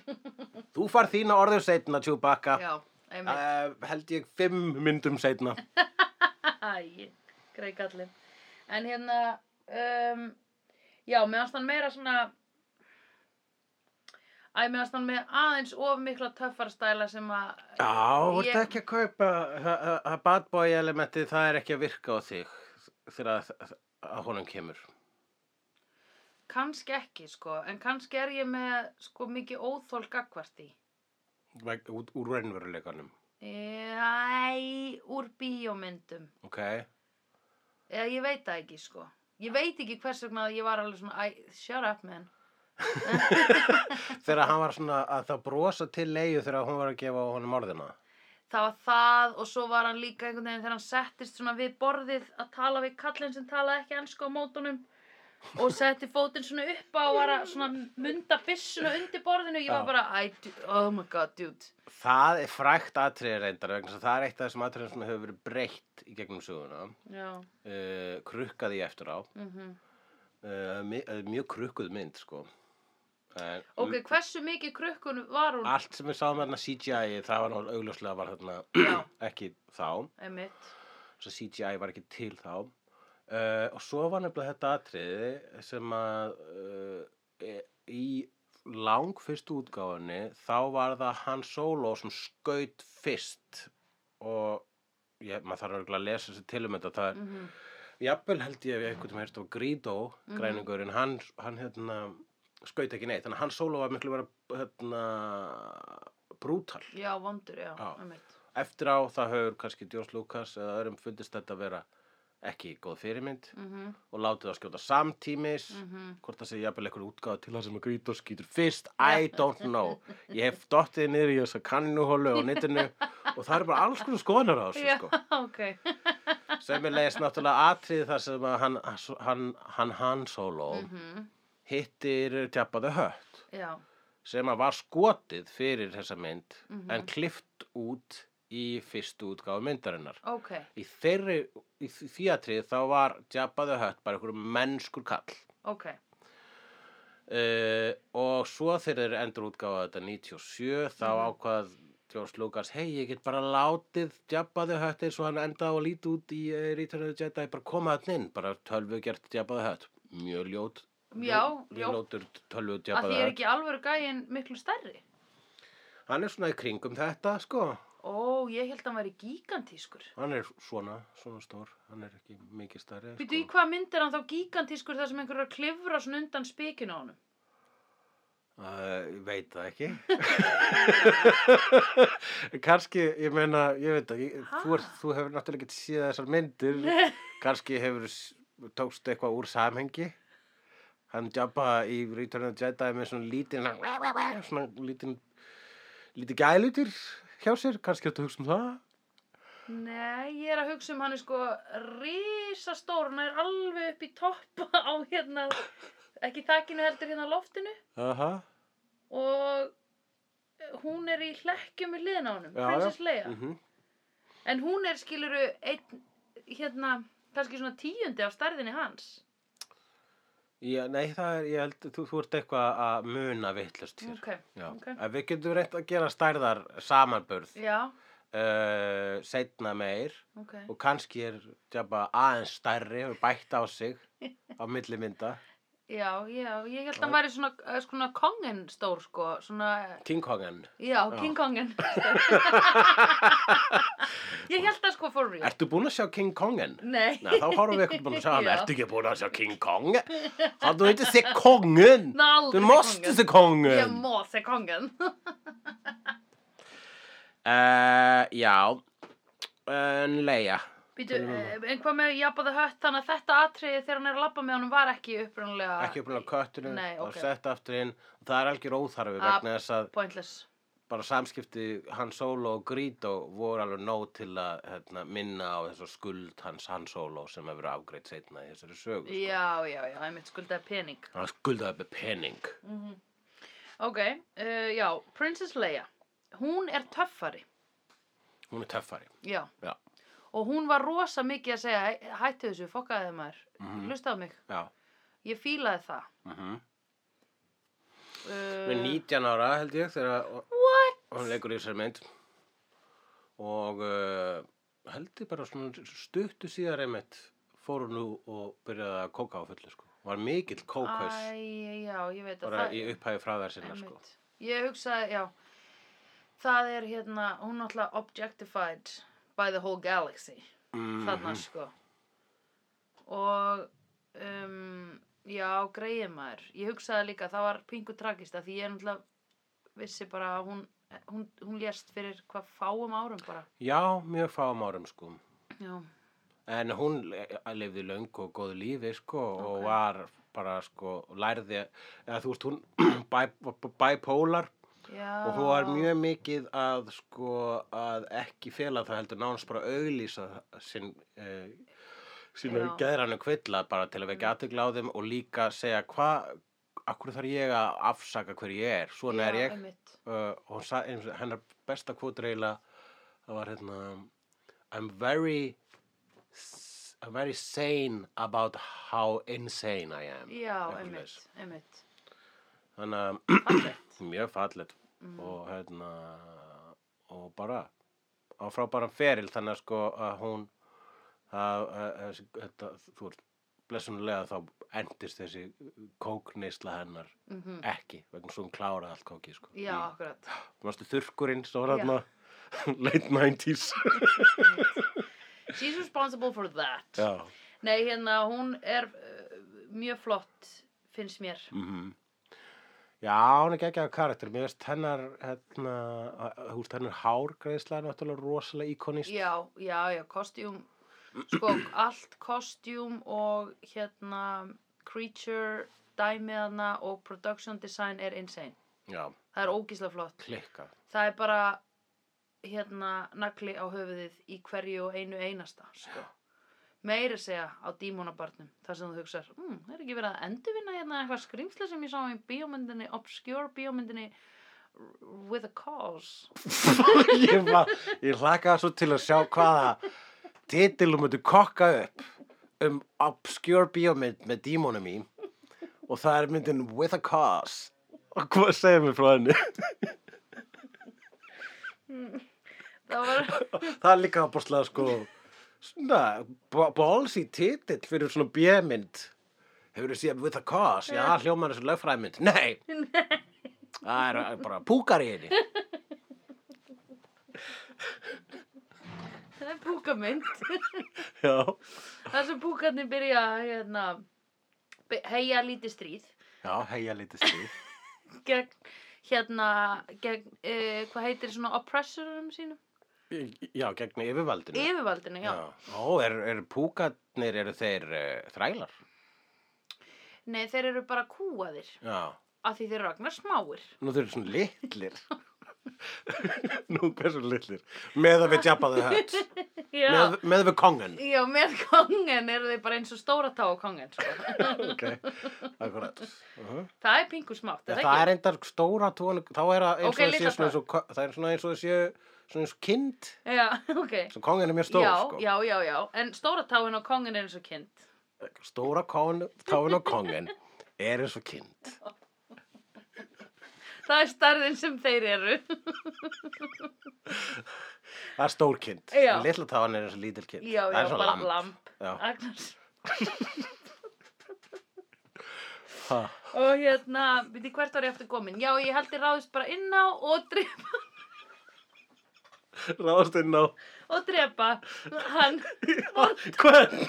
[laughs] Þú far þína orðum setna, Chewbacca. Já, einmitt. Uh, held ég fimm myndum [laughs] setna. Æ, greið gallin. En hérna, um, já, mér fannst hann meira svona... Æ, mér fannst hann með aðeins of mikla töffara stæla sem að... Já, þú ert Ég- ekki að kaupa, það- það- það bad boy elementið, það er ekki að virka á þig þegar að, að honum kemur. Kannski ekki, sko, en kannski er ég með, sko, mikið óþól gagvart í. Veg- Út, úr raunveruleikanum, Æ, úr bíómyndum. ok? Eða ég veit það ekki, sko. Ég veit ekki hvers vegna ég var alveg svona, æ, shut up, man. Þegar hann var svona að það brosa til leiðu þegar hún var að gefa honum orðina. Það var það og svo var hann líka einhvern veginn þegar hann settist svona við borðið að tala við kallinn sem talaði ekki ennsku á mótunum og setti fótinn svona upp á og var að svona munda byssuna undir borðinu. Ég var Já. bara, æ, du- oh my god, dude. Það er frækt atriði reyndar vegna þess að það er eitt af þessum atriðum sem hefur verið breytt í gegnum söguna. Já, Uh, krukkaði ég eftir á. mhm. Uh, mi- uh, mjög krukkuð mynd, sko. Uh, Ok, hversu mikið krukkun var hún? Allt [clears throat] sem við sáum hérna CGI, það var náttúrulega augljóslega var hérna Já. ekki þá. Einmitt. svo CGI var ekki til þá uh, og svo var nefnilega þetta atriði sem að uh, e- í lang fyrstu útgáfunni þá var það hann solo sem skaut fyrst og ég, maður þarf örugglega að lesa sér til um þetta það er Mhm. jafnvel held ég ef ég einhvern veginn hérst á Grító græningurinn, hann, hann hérna skaut ekki neitt, þannig að hann solo var miklu vera hérna brútal já, vondur, já, Já. um eftir á það höfur kannski George Lucas eða öðrum fundist þetta vera ekki góð fyrirmynd Mhm. og látið að skjóta samtímis Mm. hvort það sé jafnvel einhver útgáð til það sem að Grító skýtur fyrst I don't know ég hef dottið niður í þessa kannuhólu á netinu og það eru bara alls konar skoðanar á þessu Já, sko [laughs] ok. sem er leiðist náttúrulega atrið þar sem að hann, hann, hann, hann solo Mhm. hittir tjappaðu hött Já, sem að var skotið fyrir þessa mynd mhm. en klift út í fyrstu útgáfu myndarinnar. ok. Í þeirri, í þ- því atrið þá var tjappaðu hött bara einhverjum mennskur kall Ok. uh, og svo þegar þeir endur útgáfa þetta 97 þá Mhm. ákvað George Lucas, hei ég get bara látið djabbaðu hött eins og hann endaði að líti út í uh, Return of the Jedi, bara koma hann inn bara tölvu gert djabbaðu hött mjög ljót, Já, já. ljótur tölvu Að því djabbaðu er hött ekki alvöru gæin miklu stærri. hann er svona í kringum þetta sko Ó, ég held að hann væri gigantískur. hann er svona, svona stór hann er ekki mikið stærri Býtu í sko. hvað mynd er hann þá gigantískur þar sem einhverjar klifra svona undan spekinu á honum? uh, ég veit það ekki [laughs] kannski, ég meina ég veit ekki, Ha? þú, er, þú hefur náttúrulega ekki séð þessar [laughs] myndir kannski hefur tókst eitthvað úr samhengi hann jabba í Return of the Jedi með svona lítinn svona lítinn lítið gælutir hjá sér kannski ertu að hugsa um það Nei, ég er að hugsa um hann er sko risastór, hann er alveg upp í topp á hérna, ekki þakkinu heldur hérna á loftinu Aha. og hún er í hlekkjum við liðin á honum, Já, já. Princess Leia. Mm En hún er skiluru einn, hérna, kannski svona tíundi af stærðinni hans. Já, nei, það er, ég held, þú, þú ert eitthvað að muna vittlust hér. Ok, Já, ok. en við getum reynt að gera stærðar samanburð Já, uh, setna meir ok. og kannski er Jabba aðeins stærri og bætt á sig á milli mynda Já, já, ég held að hann Já. væri svona, eh, svona kongin stór, sko, svona, King Kongen já, King [laughs] Kongin stór. ég held að sko for real. Ertu búin að sjá King Kongen? Nei. Nei, [laughs] þá horfum við ekkert búin að sjá hann Já. Ertu ekki búin að sjá King Kong? Hann þú heitir þig Kongen Nei, aldrei Þú mást Kongen. þig Ég Kongen má segja [laughs] kongen. uh, Já En Leia Býtu, eh, en hvað með Jabba the Hutt, þannig að þetta atriði þegar hann er að labba með honum var ekki upprunalega... Ekki upplega köttinu Ah. Nei, og ok. sett aftur inn Það er algjör óþarfi Ah. vegna þess að Pointless. bara samskipti Han Solo og Greedo voru alveg nóg til að hérna, minna á þessu skuld hans Han Solo sem hefur verið afgreitt seinna í þessari sögu. sko. Já, já, já, ég mitt skuldaði pening. Hann skuldaði með penning. Mm. Ok, uh, já, Princess Leia, hún er töffari, Hún er töffari. já. Já. Og hún var rosa mikið að segja, "Hæ- hættu þessu, fokkaði maður, Mhm. mm. á mig. Já. Ég fílaði það. Mm -hmm. Uh, Með 19 ára held ég þegar What? hún leikur í þessari mynd. Og uh, held ég bara svona stuttu síðar einmitt fór hún nú og byrjaði að kóka á fullu sko. Var mikill kókaus Æ, já, ég veit að bara það... í upphæði fræðar sinna sko. einmitt. Ég hugsaði, já, það er hérna, hún náttúrulega objectified by the whole galaxy, Mm þarna sko. Og, um, já, greið maður. Ég hugsaði líka, það var pingu tragist að því ég náttúrulega vissi bara að hún, hún, hún lést fyrir hvað fáum árum bara. Já, mjög fáum árum sko. Já, En hún lifði löngu og góðu lífi sko og Ok. var bara sko lærði, eða þú veist hún [clears throat] bæ- bipolar já. og hún var mjög mikið að sko að ekki fela það heldur nánast bara auglýsa sinn eh, sínu Já. Mm. geðrannu kvilla bara til að vekja aðtegla á þeim og líka segja hvað, akkur þarf ég að afsaka hver ég er, svona er ég Einmitt. uh, og hún sagði, eins og hennar besta kvotur eiginlega það var hérna I'm very s- I'm very sane about how insane I am Já, Eitthvað einmitt, svoleiðis. einmitt. þannig Fallegt. að [clears throat] mjög fallet og hérna og bara á frábæran feril þannig að sko að hún það, það- það, þetta, þú ert blessunlega þá endist þessi kókneisla hennar Mhm. ekki vegna svo hún kláraði allt kóki sko. Já, akkurat. Mástu þurrkurinn svo var Já. þarna [laughs] late [laughs] 90s She's responsible for that. Já, Nei, hérna, hún er uh, mjög flott, finnst mér. mm Já, hún er geggjað karakter Mér veist hennar hérna, húst hennar hárgreisla er náttúrulega rosalega íkonist Já, já, já, kostjúm, sko, allt kostjúm og hérna creature dæmiðana og production design er insane. Já, Það er ógíslega flott. klikka Það er bara, hérna, nagli á höfuðið í hverju og einu einasta, sko. Meira segja á dímonabarnum, þar sem þú hugsar, mm, það er ekki verið að endurvinna hérna eitthvað skrýmsla sem ég sá í bíómyndinni, obscure bíómyndinni with a cause. [laughs] ég, var, ég hlakaði svo til að sjá hvaða titilum myndu kokka upp um obscure bíómynd með dímonum í og það er myndin With a Cause og hvað segir mér frá henni Það var... [laughs] það er líka ábúrslega sko svona bólsi titill fyrir svona bjömynd hefur þú séð With a Cause já, hljómar þessu lögfræðmynd [laughs] nei, það er bara púkar í henni Það er púkamynd. [laughs] já, Þar sem púkarnir byrja að hérna, be- heia lítið stríð já heia lítið stíð gegn, hérna, gegn, uh, hvað heitir svona oppressorum sínum? já, gegn yfirvaldinu Yfirvaldinu, já. Ó, er, er púkarnir, eru þeir uh, þrælar? Nei, þeir eru bara kúaðir Já. af því þeir eru agnar smáir. Nú þeir eru svona [laughs] litlir. Nú, hversu litlir? Með að við djapaðu [laughs] hött. [laughs] Já. Með, með við [laughs] kongen. Já, með kongen eru þeir bara eins og stóra tá á kongen, sko. [laughs] ok, akkurat. Uh -huh. Það er pingu smátt, er Það það er ekki? reyndar stóra tónu, þá er það eins og Ok, það sé litla svona eins og, ko- það er svona eins og það sé svona eins og kind, Já, [laughs] ok. svo kongen er mjög stór, já, sko. já, já, já. En stóra táin á kongen er eins og kind. Stóra kón, táin og kongen er eins og kind. Það er starðin sem þeir [laughs] eru. Það er stór kind. Já. En Litla táin er eins og lítil kind. Já, það já, er svona bara lamb. lamp. Já. Agnars. Ha. Og hérna, veit ég hvert var ég aftur komin? Já, ég held ég ráðist bara inn á og drepa, Ráðast inn á og drepa hann. [laughs] Hvern?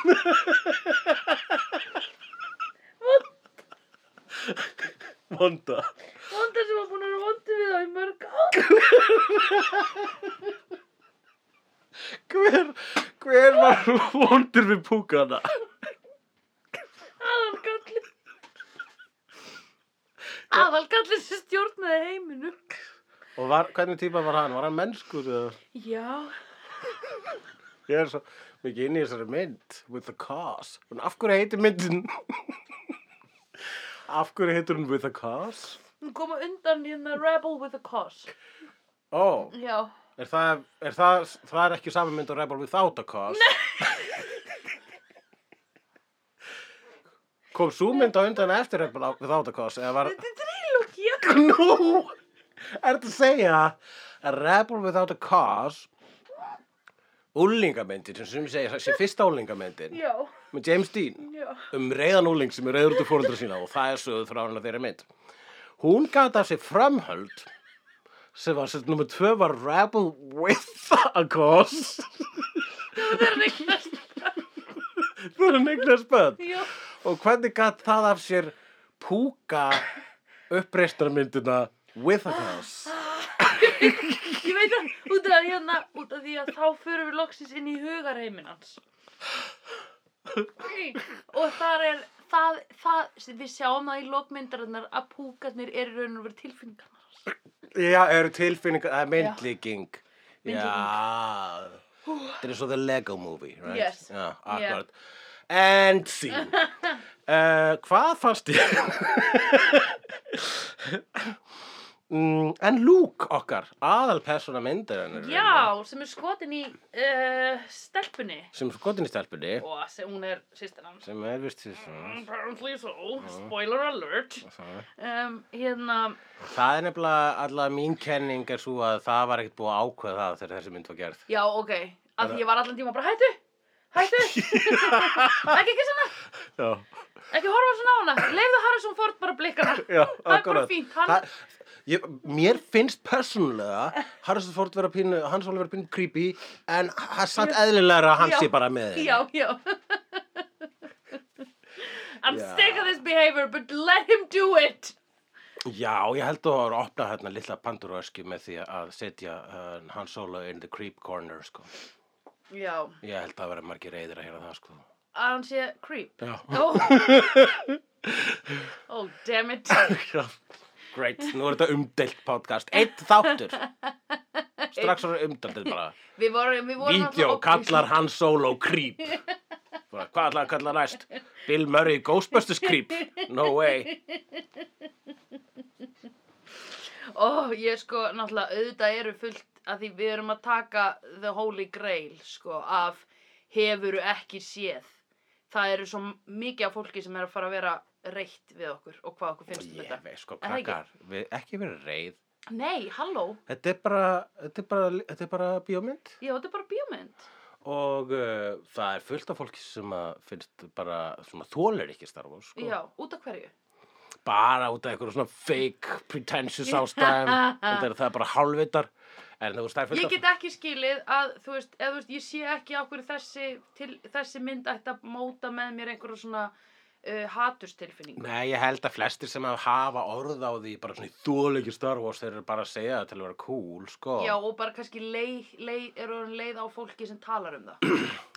Vonda Vonda sem var búin að vera vondu við þá í mörg ár. Hver, hver var vondur við púkana? [laughs] Aðalgalli. Aðalgalli sem stjórnaði heiminum. Og var, hvernig típa var hann? Var hann mennskur? eða? Já, Ég er svo mikið inn í þessari mynd With the cause En af hverju heitir myndin? [laughs] af hverju heitir hún With the cause? hún kom á undan hérna Rebel with a Cause. Ó, Já. er það, er það, það er ekki saman mynd og Rebel Without a cause? Nei [laughs] Kom svo mynd á undan eftir Rebel Without a cause? Eða var, Þetta er trílókja. [laughs] Nú, ertu að segja að Rebel Without a Cause úlingamyndin sem sem segja sem fyrsta úlingamyndin Já, með James Dean já. um reyðan úling sem er reyður til fóröldra sína og það er sögðu frá hann að þeirra mynd hún gata sér framhöld sem var sett nummer tvö var Rebel With a Cause [laughs] Það er neiklast. það er neiklega spönd Já. og hvernig gat það af sér púka uppreistarmyndina With a Cause Ég veit að, út af, hérna, út af því að þá förum við loksins inn í hugarheimin hans. Og þar er, það, það, við sjáum það í lokmyndarinnar að púkarnir eru raun og verið tilfinningarnar. hans. Já, eru tilfinningar, það er myndlíking. Já, Myndlíking. þetta er svo the Lego movie, right? Yes. Já, akkurat. And scene. [laughs] uh, hvað fannst ég? mm, en Luke okkar, aðalpersona myndarinn. Já, sem er skotin í uh, stelpunni. Sem er skotin í stelpunni, Og sem hún er sýstir hans. sem er vist því svona. Apparently so, spoiler alert. Um, hérna, Það er nefnilega allavega mín kenning er svo að það var ekkert búið að ákveða það þegar þessi mynd var gerð. já, ok, að því ég var allan tíma bara hættu. [laughs] hættu ekki ekki svona, Já, ekki horfa svona á hana leifðu Harrison Ford bara blikana já, það er bara fínt, hann Það- Ég, mér finnst persónulega Harrison Ford vera pínu, hans Óli vera pínu creepy en hann samt eðlilegra að hann Já. sé bara með henni. Já, já. [laughs] I'm Já. sick of this behavior, but let him do it. Já, ég held að það var að opna hérna lilla pandurösku með því að setja uh, hans Óli in the creep corner sko. Já, Ég held að það vera margir reyðir að heyra það sko. að hann sé [laughs] creep. Já. Oh, oh damn it. Já, Great, nú er þetta umdelt podcast Eitt [laughs] þáttur Strax var umdeltið bara Við vorum, við vorum Vídeó kallar hann solo creep [laughs] bara, Hvað ætlar hann kallar næst? Bill Murray Ghostbusters creep No way Ó, ég sko, náttúrulega, auðvitað eru fullt að því við erum að taka the holy grail, sko, af hefuru ekki séð. Það eru svo mikið af fólki sem er að fara að vera reitt við okkur og hvað okkur finnst um Ég þetta. veit sko Er það ekki? krakkar við, Ekki verið reið Nei, halló. Þetta er bara, þetta er bara, þetta er bara bíómynd Já, þetta er bara bíómynd. og uh, það er fullt af fólki sem að finnst bara, sem að þólar ekki starfa sko. Já, út af hverju? bara út af einhverju svona fake [laughs] pretentious ástæðum þetta er það er bara hálfvitar en þú veist það er fullt Ég af- get ekki skilið að, þú veist, eða þú veist, ég sé ekki á hverju þessi, til, þessi mynd ætti að móta með mér einhverju svona uh, haturstilfinning. Nei, ég held að flestir sem að hafa orð á því bara svona í þóleikir Star Wars þeir eru bara að segja það til að vera cool, sko. Já, og bara kannski leið, leið, eru orðin leið á fólki sem talar um það.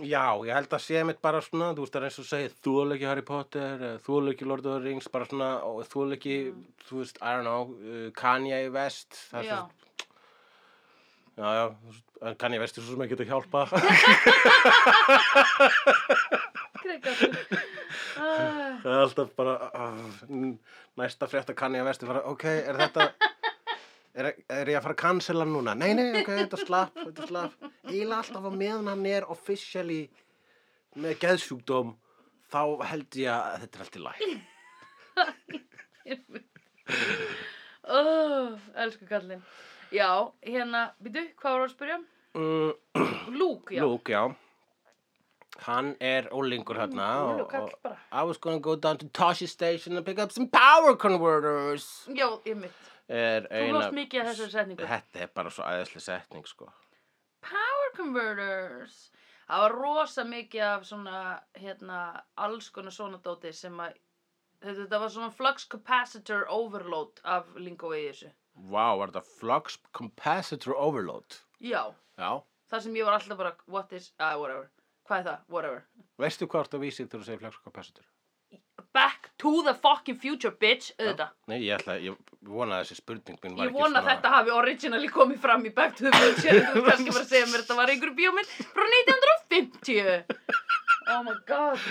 Já, ég held að sé mitt bara svona, þú veist það er eins og segja þóleiki Harry Potter, þóleiki Lord of the Rings, bara svona, og þóleiki, þú veist, I don't know, uh, Kanye West, það er svo, Mm. Já, já, já, þú veist, en Kanye West er svo sem ekki að hjálpa. [laughs] krekar. Ah, Það er alltaf bara uh, næsta frétta kann ég að vestu fara, ok, er þetta er, er ég að fara að cancela núna? Nei, nei, ok, þetta slapp, þetta slapp eiginlega alltaf á meðan hann er officially með geðsjúkdóm þá held ég að þetta er allt í læk oh, elsku kallinn. Já, hérna, býtu, hvað var að spyrja? mm, Lúk, já. Luke, já hann er ólingur hérna Lúk, og, Mm, kall og bara. I was gonna go down to Toshi Station and pick up some power converters Já, ég mitt. er Þú eina lost mikið að þessari setningu. Þetta er bara svo æðislega setning, sko Power Converters Það var rosa mikið af svona hérna, alls konar svona dóti sem að þetta, þetta var svona flux capacitor overload af lingó í þessu Vá, var þetta flux capacitor overload? Já, Já. það sem ég var alltaf bara what is, ah, whatever, hvað er það, whatever Veistu hvað þetta vísir þegar þú segir flux capacitor? Back to the fucking future, bitch, auðvitað Nei, ég ætla, ég vona að þessi spurning minn var Ég ekki vona að þetta hafi originally komið fram í Back to the Future en Þú ert kannski bara að segja mér að þetta var einhver bíómynd frá 1950 Oh my god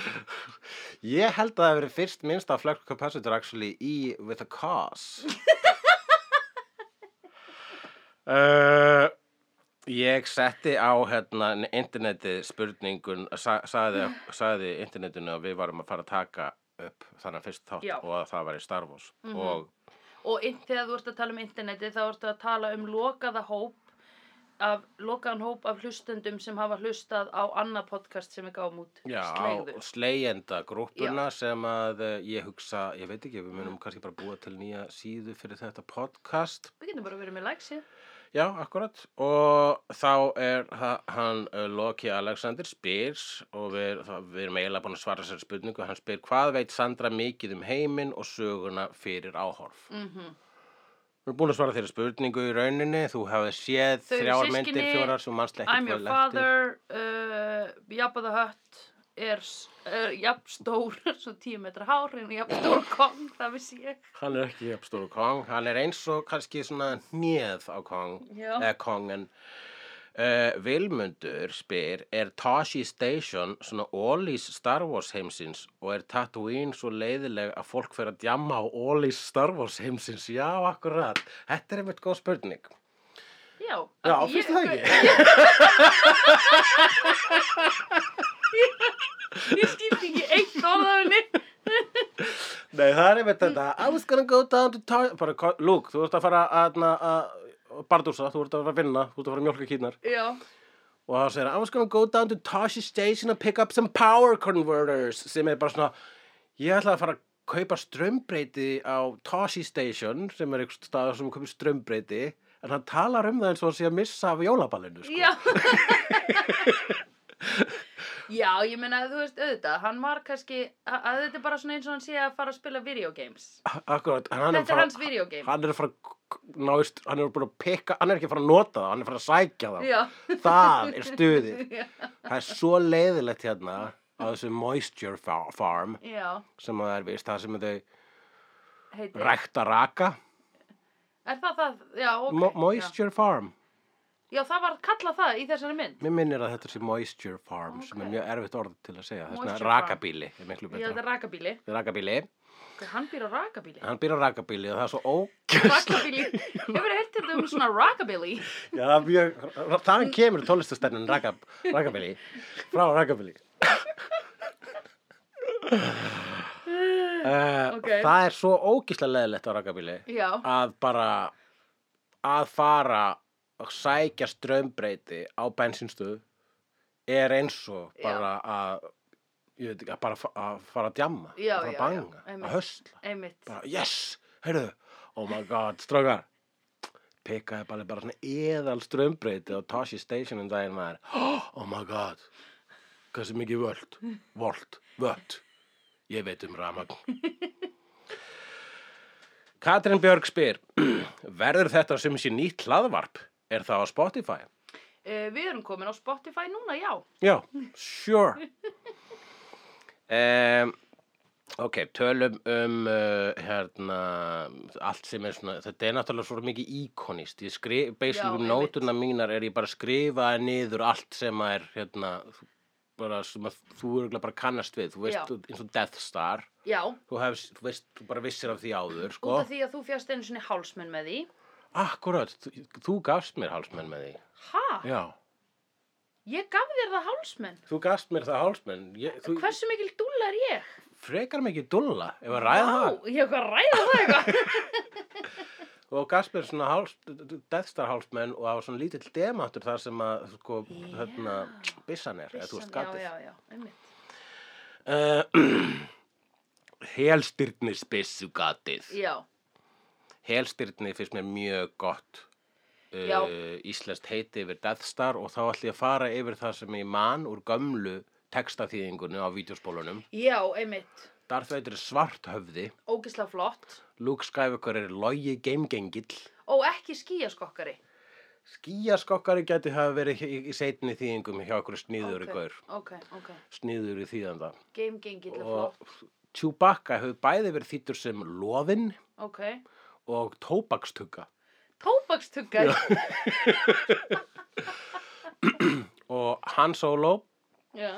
Ég held að það hafi verið fyrst minnst að flux capacitor actually í with a cause. [laughs] uh, ég setti á hérna internetið spurningun, sa saði, saði internetinu að við varum að fara að taka upp þannig fyrst þátt Já. og að það var í Star Wars Mhm. og og inn, þegar þú ert að tala um interneti þá ertu að tala um lokaða hóp af, lokaðan hóp af hlustendum sem hafa hlustað á annað podcast sem við gáum út Já, Slegðu. á slegjenda grúppuna sem að eh, ég hugsa, ég veit ekki, við Mm. munum kannski bara búa til nýja síðu fyrir þetta podcast. við getum bara verið með læksi Já, akkurat. Og þá er ha- hann eh, Loki Alexander spyr og við, það, við erum eiginlega búin að svara sér spurningu. Hann spyr hvað veit Sandra mikið um heiminn og söguna fyrir áhorf. mm Við erum búin að svara þeirri spurningu í rauninni. Þú hafði séð Þau eru þrjár systkini, myndir, fjórar sem mannst ekki I'm your father uh, Jabba the Hutt er, s- er jafn stór [laughs] svo tíu metra hár en jafn stór kong það vissi ég Hann er ekki jafnstóru Kong, hann er eins og kannski svona hnið á Kong, Já. eða Kong en uh, Vilmundur spyr, er Tashi Station svona Ollís Star Wars heimsins og er Tatooine svo leiðileg að fólk fer að djamma á Ollís Star Wars heimsins? Já, akkurat, þetta er einmitt góð spurning. já, Já, af því finnst ég- það ekki? [laughs] ég skipti ekki eitt orðaðunni Nei, það er einmitt þetta, I was gonna go down to Tashi, bara, ko- Luke, þú ert að fara að, að, að bardúsa, þú ert að fara að vinna, þú ert að fara að mjólka kýrnar. já, og það segir I was gonna go down to Toshi Station and pick up some power converters sem er bara svona ég ætla að fara að kaupa strömbreyti á Toshi Station sem er einhver staður sem kaupir strömbreyti en hann talar um það eins og hann sé að missa af jólaballinu sko. Já [laughs] Já, ég meina þú veist auðvitað, hann var kannski að, að þetta er bara svona eins og hann sé að fara að spila videogames Akkurat, hann Þetta er hans videogame. Hann er að fara að náist, hann er búin að pikka, hann er ekki að fara að nota það, hann er að fara að sækja það. Já, [laughs] Það er stuðið. Já. Það er svo leiðilegt hérna á þessu moisture fa- farm [laughs] já, sem það er vist, það sem þau heitir rækta raka. Er það það, já, ok Mo já. moisture farm. já, það var kallað það í þessari mynd Mér minnir að þetta sé moisture farm sem Ok. er mjög erfitt orð til að segja. Það er Moisture svona farm. rakabíli, er miklu Já, þetta betra. er rakabíli Rakabíli, Ok, Hann býr á rakabíli hann býr á rakabíli og það er svo ógæsla. [laughs] Rakabíli, hefur heilt þetta um svona rakabíli Já, það er mjög, þaðan kemur tónlistastennun raka, rakabili, frá [laughs] rakabili. Uh, Ok. Það er svo ógíslega leðilegt á rakabili Já, að bara, að fara og sækja strömbreyti á bensinstöð er eins og Já. bara að, ég veit ekki, að bara fa- að fara að djamma, Já, að fara já, að já, banga, einmitt. að hösla einmitt bara yes, heyrðu, oh my god, strákar pikkaði bara, bara svona eðal strömbreyti á Toshi Station um daginn maður oh my god, hversu mikið völd völd, völd ég veit um ramagn Katrin Björg spyr [clears throat] verður þetta sem sé nýtt hlaðvarp er það á Spotify? uh, Við erum komin á Spotify núna, já Já, sure um, Ok, tölum um uh, hérna, allt sem er svona þetta er náttúrulega svo mikið íkonist ég skrif, Já, basically um einmitt. nótuna mínar er ég bara að skrifa niður allt sem að er hérna, þú- bara sem að þú eru bara kannast við, þú Já. veist, þú- eins og Death Star Já, þú, hefst, þú veist, þú bara vissir af því áður út sko. af því að þú fjast einu sinni hálsmenn með því Akkurat, þú, þú gafst mér hálsmenn með því Ha? Já, Ég gaf þér það hálsmenn þú gafst mér það hálsmenn ég, þú, Hversu mikil dúlla er ég? frekar mikið dulla ef að ræða það Vá, ég hef hvað að ræða það [laughs] eitthvað og gafst mér svona háls, Death Star hálsmenn og það var svona lítill demantur þar sem að sko, Já. hérna, byssan er eða þú veist Byssan, gatið Já, já, já, einmitt uh, [clears throat] helstyrnis Eh, byssu gatið Já, helstyrni finnst mér mjög gott Já. uh, íslenskt heiti yfir Death Star og þá ætlum ég að fara yfir það sem ég man úr gömlu textaþýðingunni á vídeospólunum já, einmitt Darth Vader er svart höfði Ógislega flott Luke Skywalker er logi geimgengill Og ekki skíaskokkari Skíaskokkari gæti hafa verið í, í seinni þýðingum hjá okkur sníður í gaur, Ok, ok sníður í þýðanda. Game gengill er Og flott Chewbacca hefur bæði verið þýttur sem loðinn Ok og tóbakstugga. Tóbakstuggar Og Hans Solo, Já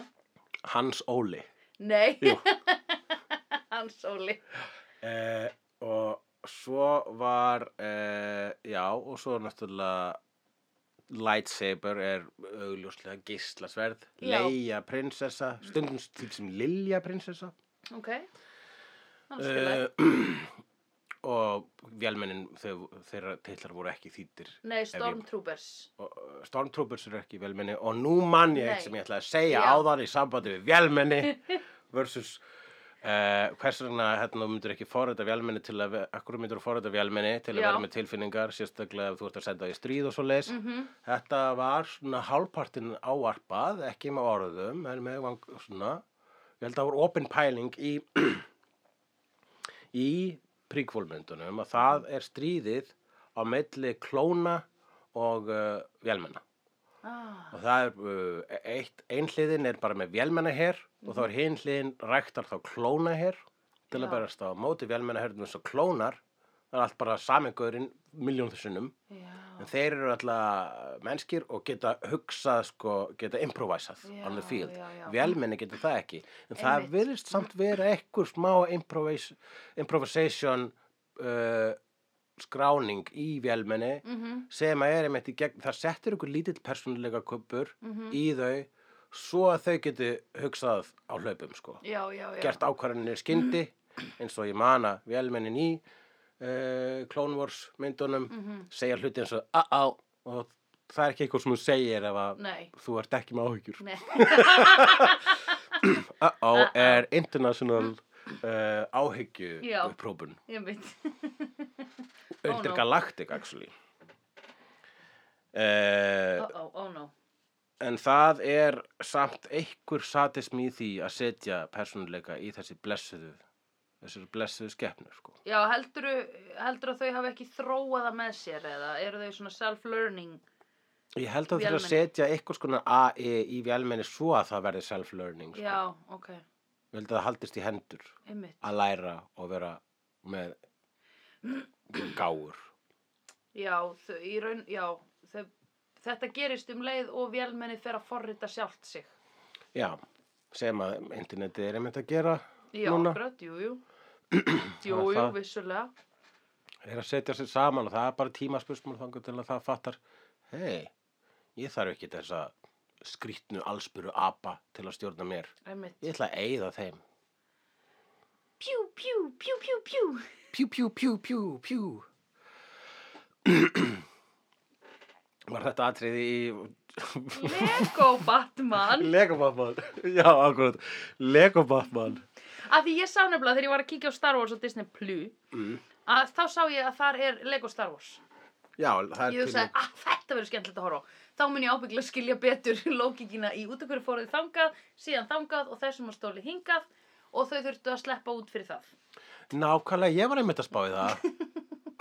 Hans Óli. Nei Jú. [laughs] Hans Óli Eh, og svo var, eh, já, og svo náttúrulega lightsaber er augljóslega geislasverð, Já. Leia prinsessa, stundum til sem Lilja prinsessa. Ok Hann spilaði uh, [clears throat] og vélmennin þau, þeirra titlar voru ekki þýttir Nei, Stormtroopers og uh, Stormtroopers eru ekki vélmenni og nú mann ég Nei. sem ég ætla að segja Já. áðan í sambandi við vélmenni [laughs] versus Uh, hvers vegna hérna þú myndir ekki forrita vélmenni til að, akkur myndir þú forrita vélmenni til að Já. vera með tilfinningar, sérstaklega ef þú ert að senda í stríð og svo leis Mhm. þetta var svona hálfpartin ávarpað ekki með orðum, en með vang, svona, ég held að það voru opin pæling í í príkvólmyndunum að það er stríðið á milli klóna og uh, vélmenna ah, og það er uh, eitt, einhliðin er bara með vélmenna her og þá er hinhliðin ræktar þá klóna her til Já. að berast á móti vélmenna her eins og klónar, það er allt bara samengurinn miljón þessunum Já en þeir eru alltaf mennskir og geta hugsað sko, geta improvisað Já, on the field já, já. vélmenni geta það ekki en það Einmitt. virðist samt vera einhver smá improvis improvisation uh, skráning í vélmenni Mhm, sem að er einmitt í gegn það settur ykkur lítill persónuleika kuppur mhm. í þau svo að þau geti hugsað á hlaupum sko. Já, já, já gert ákvarðanir skyndi eins og ég mana vélmennin í uh, Clone Wars myndunum Mhm. segja hluti eins og a-á og það er ekki eitthvað sem þú segir ef að Nei, þú ert ekki með áhyggjur. [laughs] nei, Uh-oh, Uh-oh. er international uh, áhyggju Já. prófun. ég mynd. Oh, no. Intergalactic, actually. Uh, Oh, oh, oh no. en það er samt einhver satismi í því að setja persónuleika í þessi blessuðu, þessari blessuðu skepnur, sko. Já, heldur, heldur að þau hafa ekki þróaða með sér eða eru þau svona self-learning? Ég held að það að Vélmenni. setja einhvers konar AE E í vélmenni svo að það verði self-learning, sko. Já, ok, Ég held að það haldist í hendur. einmitt. að læra og vera með gáur. Já, þau, í raun, já, þau, þetta gerist um leið og vélmenni fer að forrita sjálft sig. Já, sem að internetið er einmitt að gera, Já, Núna. akkurat, jú, [clears throat] jú. Það er jú, jú, það. vissulega. er að setja sér saman og það er bara tímaspursmál þangar til að það fattar, hei, ég þarf ekki þessa skrýtnu allspuru apa til að stjórna mér. Einmitt. Ég ætla að eigða þeim. Pjú, pjú, pjú, pjú, pjú. Pjú, pjú, pjú, pjú, pjú. [clears throat] Var þetta atriði í... [laughs] Lego Batman. Lego Batman. [laughs] Já, akkurat. Lego Batman. Af því ég sá nefnilega þegar ég var að kíkja á Star Wars og Disney Plus, Mm. að þá sá ég að þar er Lego Star Wars. Já, það er Ég hugsaði að þetta verður skemmtilegt að horfa á. Þá mun ég ábygglega skilja betur [laughs] lókikina í út af hverju fóruði þangað, síðan þangað og þessum að stóli hingað og þau þurftu að sleppa út fyrir það. Nákvæmlega, ég var einmitt að spá í það.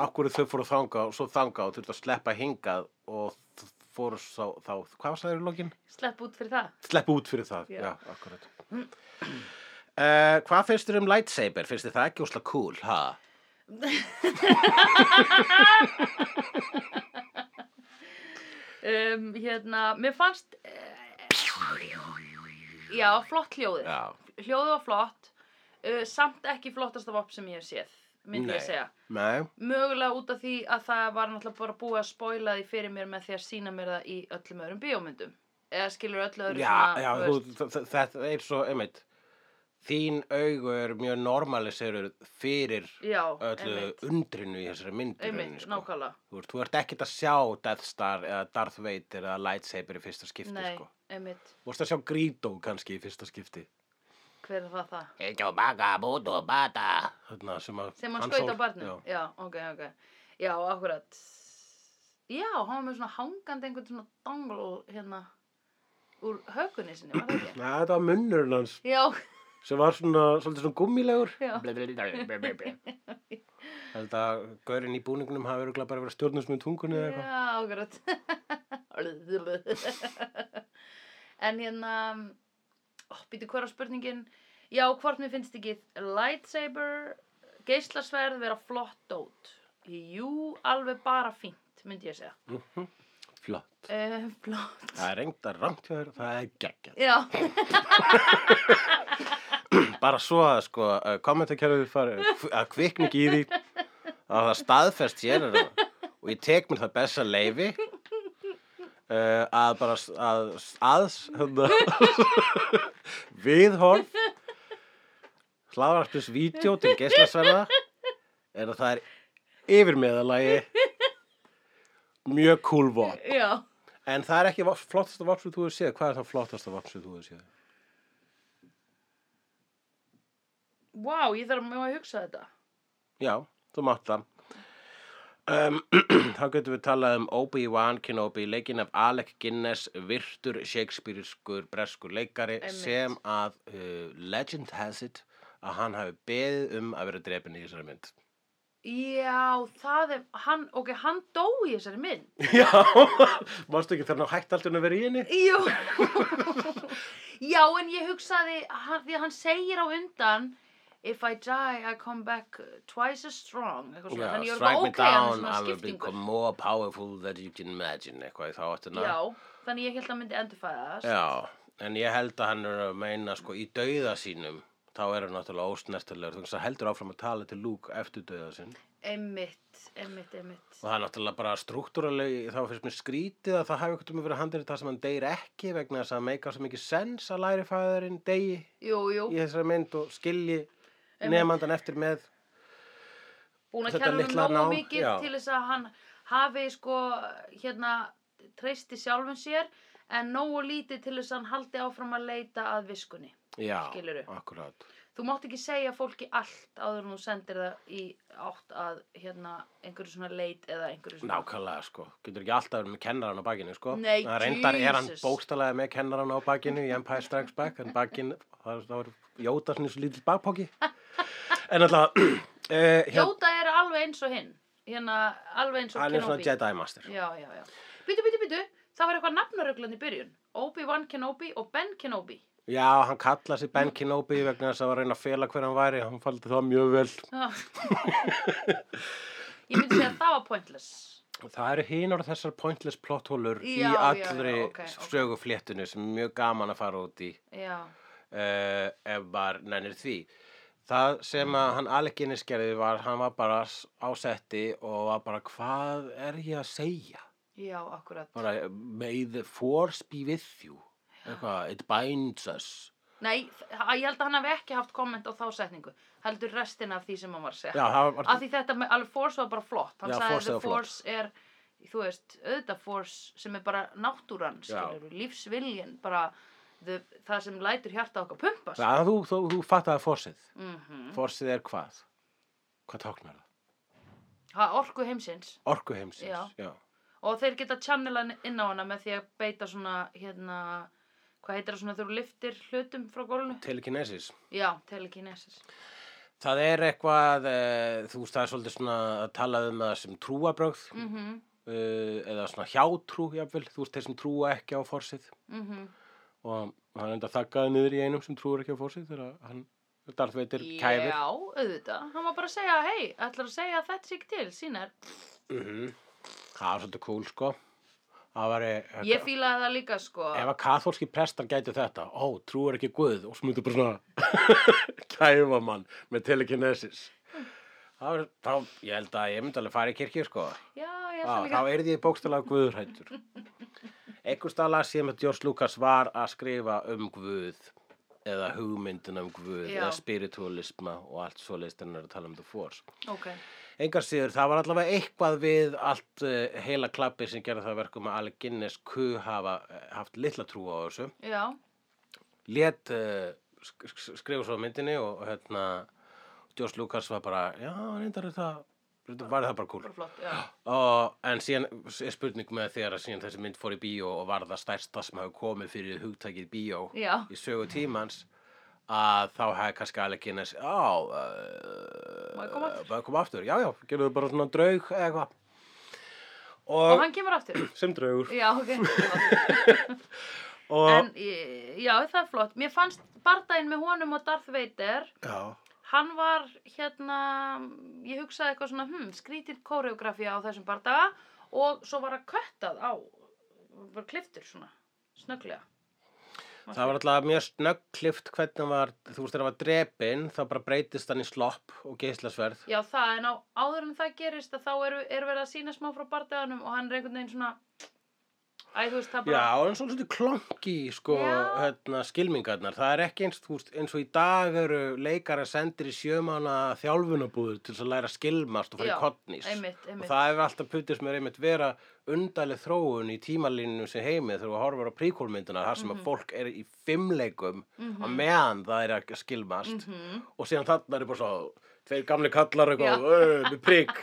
Akkur þau fóru þanga og svo þanga og þurftu að sleppa hingað og þ- fóru þá, þá hvað var það í lokin? Sleppa út fyrir það. Sleppa út fyrir það, Já. já, akkurat. Uh, hvað finnst þér um lightsaber? Finnst þér það ekki úsla cool, ha? Um, hérna, mér fannst, eh, já, flott hljóðið. Já, Hljóðið var flott, uh, samt ekki flottasta vopp sem ég hef séð, myndi ég Nei. segja. nei, Mögulega út af því að það var náttúrulega bara búið að spoila því fyrir mér með því að sína mér það í öllum öðrum bíómyndum. Eða skilur öllu öðru já, já, þú þú, veist. þ- þ- þetta er svo, einmitt, þín augu er mjög normaliserur fyrir Já, öllu einmitt, undrinu í sko. þessari myndir. einmitt, nákvæmlega. Þú ert, þú ert ekkert að sjá Death Star eða Darth Vader eða Lightsaber í fyrsta skipti, Nei, sko. einmitt, Þú ert að sjá Greedo kannski í fyrsta skipti. hver er það það? Ekki á baka, bútu, bata. Þarna sem að... Sem hann Han skaut Solo- á barnum? Já. Já. ok, ok. Já, akkurat. Já, hann var með svona hangandi einhvern svona dangle hérna úr hökunni sinni, var [clears throat] það ekki? Nei, þetta var munnurinn hans Já, sem var svona, svolítið svona gummilegur. já, Held að gaurinn í búningunum hafi verið bara verið stjórnum sem í tungunni eða eitthvað. já, akkurat. [laughs] en hérna, ó, býtu hver á spurningin. Já, hvort mér finnst ekki lightsaber, geislasverð vera flott dót? Jú, alveg bara fínt, myndi ég segja. Mhm. Flott. Uh, flott. Það er reynda rangt hjá þér, það er geggjað. Já. Bara svo að sko, kommentakerfið fari að kvikna ekki í því að það staðfest sér er það og ég tek mér það besta leifi uh, að bara s- að, aðs hérna, [laughs] viðhorf hlaðvarpis vídeo til geislasverða er að það er yfir meðalagi mjög cool vop Já, en það er ekki vop- flottasta vop sem þú hefur séð hvað er það flottasta vop sem þú hefur séð vá, ég þarf mjög að hugsa þetta. Já, þú mátt það. Um, [clears throat] þá getum við talað um Obi-Wan Kenobi, leikinn af Alec Guinness, virtur Shakespeareiskur breskur leikari Einmitt. sem að uh, legend has it að hann hafi beðið um að vera drepinn í þessari mynd. Já, það er, hann, ok, hann dó í þessari mynd. Já, [laughs] mástu ekki þannig að hægt allt um að vera í henni? Jú. Já, en ég hugsaði, hann, því að hann segir á undan, if I die, I come back twice as strong. Eitthvað svona, Já, þannig ég var strike bara me ok, hann er down, svona I will become skiptingur. more powerful than you can imagine, eitthvað í þá áttina. Já, þannig ég held að hann myndi endurfæðast. Já, en ég held að hann er að meina sko í dauða sínum þá er hann náttúrulega ósnertilegur þannig að hann heldur áfram að tala til Luke eftir dauða sinn og Einmitt, einmitt, einmitt. það er náttúrulega bara struktúralegi þá finnst mér skrítið að það hafi ekkert um að vera handir það sem hann deyr ekki vegna þess að það meikar svo mikið sens að læri fæðurinn deyji Jú, jú, í þessari mynd og skilji Einmitt. nefandan eftir með búin að þetta kenna litla hann nógu nám, mikið já. til þess að hann hafi sko hérna treysti sjálfum sér en nógu lítið til þess að hann haldi áfram að leita að viskunni. já, Skilurðu? akkurát Þú mátt ekki segja fólki allt áður en þú sendir það í átt að hérna einhverju svona leit eða einhverju svona. Nákvæmlega sko, getur ekki alltaf verið með kennaran á bakinu sko Nei, Það Reyndar er hann Jesus. bókstælega með kennaran á bakinu í Empire Strikes Back En bakin, það er- það var Jóta svona eins og lítill bakpóki En alltaf, uh, [clears throat] hérna, Jóta er alveg eins og hinn. Hérna alveg eins og hann er svona Kenobi. Jedi Master Já, já, já. Býtu, býtu, býtu. Það var eitthvað nafnaröglan í byrjun. Obi-Wan Kenobi og Ben [laughs] Kenobi. Já, hann kallaði sig Ben Kenobi vegna þess að var að reyna að fela hver hann væri Hann faldi það mjög vel Já. Ég myndi segja að það var pointless. Það eru hinar þessar pointless plotthólur í Já, já, já, allri ok, ok. sögufléttunni sem er mjög gaman að fara út í Já, uh, ef var nænir því. Það sem að hann Alec Guinness gerði var, hann var bara s- á setti og var bara, hvað er ég að segja? já, akkurat. Bara, may the force be with you. Eitthvað, it binds us. Nei, þ- ég held að hann hafi ekki haft komment á þá setningu. Heldur restina af því sem hann var að segja. Já, það var, Af því þetta með alveg force var bara flott. Hann Já, sagði force the var flott. force er, þú veist, auðvitað force sem er bara náttúran, skilur, lífsviljan, bara the, það sem lætur hjarta okkar pumpast. það, þú, þú, þú fattaði forsið. Mm -hmm. Forsið er hvað? Hvað táknar það? Það orku heimsins Orku heimsins, Já. já. og þeir geta channela inn á hana með því að beita svona, hérna, hvað heitir það svona þegar þú liftir hlutum frá gólunu? Telekinesis. Já, telekinesis. Það er eitthvað, e, þú veist, það er svolítið svona að tala um það sem trúabrögð mm. Mhm, Eh, eða svona hjátrú, jafnvel, þú veist, þeir sem trúa ekki á forsið mhm. og hann enda þakkaði niður í einum sem trúur ekki á forsið þegar hann, Darth Vader, kæfir. Já, auðvitað. Hann var bara að segja, hei, ætlar að segja að þetta sé ekki til, sínar. Mhm. Það var svolítið cool, sko. Það var, Ég fílaði það líka, sko. ef að katholski prestar gætu þetta, ó, trúur ekki Guð og smutu [laughs] bara svona kæfa mann með telekinesis. Það var, þá, ég held að ég myndi alveg fara í kirkju, sko. Já, ég held það Já, líka. þá erði ég bókstælega guðurhættur. Ekkur stala sem að George Lucas var að skrifa um guð eða hugmyndin um guð Já. eða spiritualisma og allt svo leist en er að tala um The Force. Ok. Engar síður, það var allavega eitthvað við allt uh, heila klappi sem gerði það verkum að Alec Guinness Q hafa eh, haft litla trú á þessu. Já, Lét uh, sk sk- skrifa svo á myndinni og og hérna George Lucas var bara, já, reyndar er það, reyndar var það bara kúl. bara flott, [gasps] já. Og, en síðan er spurning með þegar að síðan þessi mynd fór í bíó og var það stærsta sem hafi komið fyrir hugtækið bíó Já. í sögu tímans að þá hefði kannski alveg kynnes á uh, Má ég koma aftur?" bara koma aftur, já já, gerðu bara svona draug eða eitthvað Og og, hann kemur [coughs] aftur. sem draugur Já, ok. og, en, eh, já, það er flott. Mér fannst bardaginn með honum og Darth Vader, já, hann var, hérna, ég hugsaði eitthvað svona, hm, skrítið koreografi á þessum bardaga og svo var að köttað á, bara kliftur svona, snögglega. það var alltaf mjög snöggklift hvernig hann var, þú veist þegar hann var drepin þá bara breytist hann í slopp og geislasverð Já, það, en á, áður en það gerist að þá eru, eru verið að sína smá frá bardaganum og hann er einhvern veginn svona Æ, þú veist, það bara Já, en svolítið klonki sko, Já. hérna, skilmingarnar. Það er ekki eins, þú veist, eins og í dag eru leikara sendir í sjömanna þjálfunabúður til þess að læra að skilmast og fara Já, í kottnís. einmitt, einmitt. Og það hefur alltaf putið sem er einmitt vera undaleg þróun í tímalínunum sem heimið þegar við horfum á príkólmynduna þar sem Mhm. að fólk er í fimmleikum á meðan það er að Mhm. skilmast og síðan þarna er bara svo tveir gamli kallar eitthvað Já. "Ö, með [laughs] prík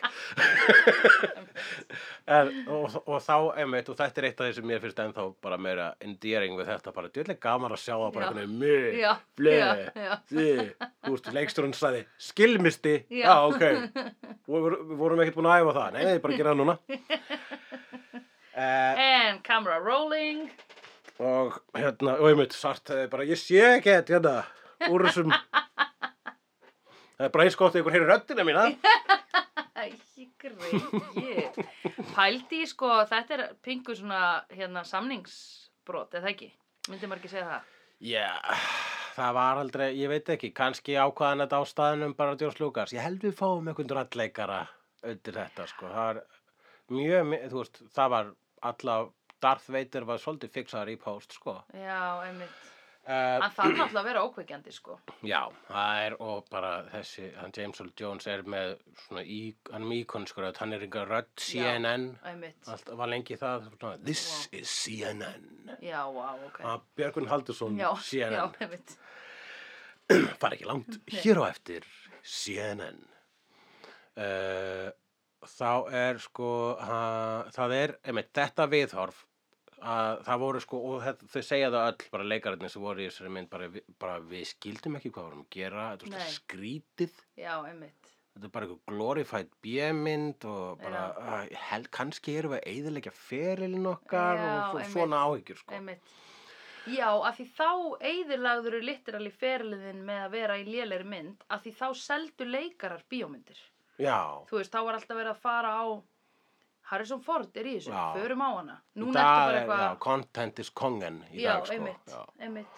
En, og, og þá, einmitt, og þetta er eitt af því sem mér finnst ennþá bara meira endearing við þetta, bara djúlega gaman að sjá það bara Já. einhvern veginn mjög, Já, já, já. blöð, þið, þú veist, leiksturinn sagði, skilmisti, Já. já, ok, og við vorum ekkert búin að æfa það, nei, ég bara að gera það [laughs] núna. Eh, And camera rolling og hérna, og einmitt, sart, eh, bara, ég sé ekki þetta, hérna, úr þessum, það er bara eins gott að ykkur heyri röddina mína, Æ, greið Pældi, sko, þetta er pingu svona, hérna, samningsbrot, eða ekki? Myndi maður ekki segja það? Já, það var aldrei, ég veit ekki, kannski ákvaðan þetta á staðnum bara Djós Lúkas. Ég held við fáum einhvern rallleikara undir þetta, sko. Það var mjög, mi- þú veist, það var alla, Darth Vader var svolítið fixaður í post, sko. Já, einmitt Uh, Hann þarf náttúrulega að vera ókveikjandi sko. já, það er og bara þessi, hann James Earl Jones er með svona, í, hann er með íkonskur rödd, hann er einhver rödd Já. CNN, Einmitt. allt var lengi það, svona, this is CNN. Já, vá, ok. Okay. Björgun Haldursson, Já, já, [clears throat] CNN, einmitt. fara ekki langt, hér á eftir, CNN. Uh, þá er sko, ha, það er, einmitt, þetta viðhorf, að það voru sko, og þetta, þau segja það öll, bara leikararnir sem voru í þessari mynd, bara, vi- bara við skildum ekki hvað vorum að gera, þetta var Nei. svona skrítið. Já, einmitt. Þetta er bara eitthvað glorified bjömynd og bara, æ, hel, kannski erum við að eyðilegja ferilin okkar Já, og svo, einmitt. svona áhyggjur, sko. Einmitt. Já, af því þá eigðurlagður er litterali ferliðin með að vera í lélegri mynd af því þá seldu leikarar bíómyndir. Já, Þú veist, þá var alltaf verið að fara á Harrison Ford er í þessu, Já. förum á hana. í Núna dag ertu bara er- já, eitthvað, content is kongen í dag, sko. einmitt, Já. einmitt.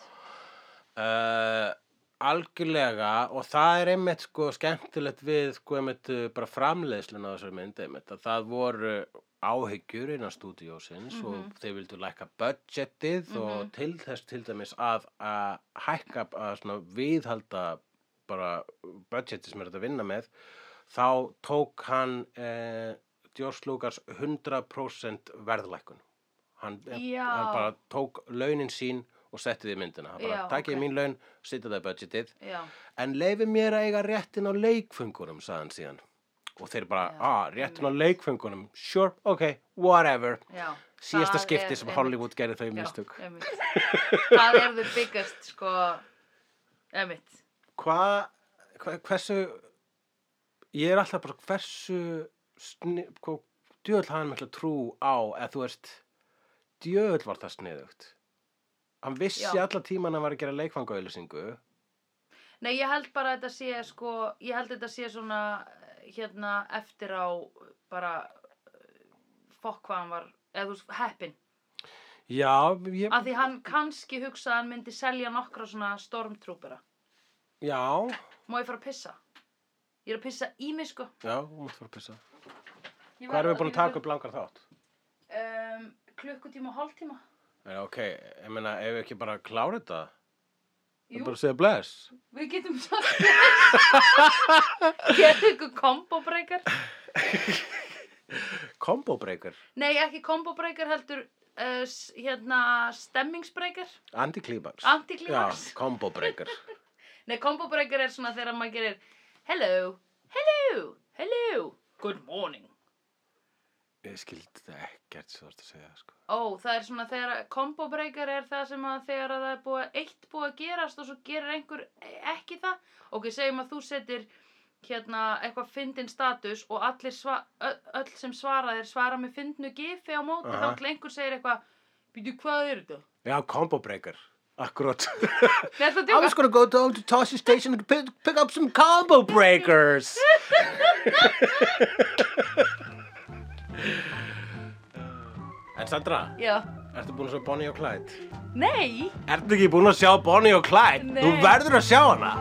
Uh, algjörlega og það er einmitt sko skemmtilegt við sko einmitt uh, bara framleiðsluna á þessari mynd einmitt að það voru áhyggjur innan stúdíósins Mhm. og þeir vildu lækka budgetið og til þess til dæmis að, að hækka að svona viðhalda bara budgetið sem er þetta að vinna með þá tók hann eh, George Lucas 100% verðlækkun hann, Já. hann bara tók launin sín og setti því myndina hann bara Já, takkið ok. mín laun, setja það í budgetið Já, en leifi mér að eiga réttin á leikfengunum sagði hann síðan og þeir bara, Já, ah, réttin á leikfengunum sure, ok, whatever já. síðasta Það skipti er sem einmitt- Hollywood gerði þau Já, mistök einmitt. Það er the biggest, sko, einmitt. hvað, hva, hversu ég er alltaf bara hversu sni, hvað, djöðl hann mikla trú á eða þú veist, djöðl var það sniðugt hann vissi Já. allan tíman að hann var að gera leikfangauðlýsingu Nei, ég held bara að þetta sé sko, ég held að þetta sé svona eh, hérna eftir á eh, bara eh, fokk hvað hann var, eða þú veist, heppin. já, ég, Af því hann kannski hugsaði að hann myndi selja nokkra svona stormtroopera. já Má ég fara að pissa? Ég er að pissa í mig sko. já, þú mátt fara að pissa hvað erum við búin að taka upp langar þátt? Um, klukkutíma og hálftíma. En ok, ég meina, ef við ekki bara klára þetta, við Jú, bara segja bless. við getum [laughs] sagt. Gerðu ykkur combo breaker. Combo breaker, Nei, ekki combo breaker heldur uh, s- hérna stemmingsbreaker. anticlimax. Anticlimax. Já, combo breaker. Nei, combo breaker er svona þegar maður gerir Hello, hello, hello Good morning [laughs] ég skildi ekkert svo að segja, sko. Ó, það er svona þegar combo breaker er það sem að þegar að það er búið eitt búið að gerast og svo gerir einhver ekki það Ok, segjum að þú setir hérna eitthvað fyndin status og allir sva, ö- öll sem svara þér svara með fyndnu gifi á móti uh Aha. þá til einhver segir eitthvað Býtu, hvað er þetta? Já, combo breaker. Akkurát. [laughs] Nei, það I was djóka gonna go down to Tossie Station and pick, pick up some combo breakers. en Sandra, Já, ertu búin að sjá Bonnie og Clyde? nei Ertu ekki búin að sjá Bonnie og Clyde? Nei. Þú verður að sjá hana.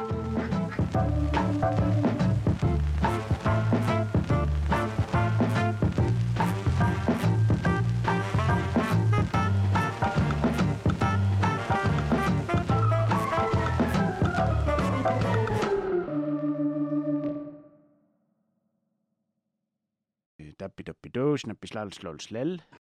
Dabbi dabbi dó, snabbi slal slól slell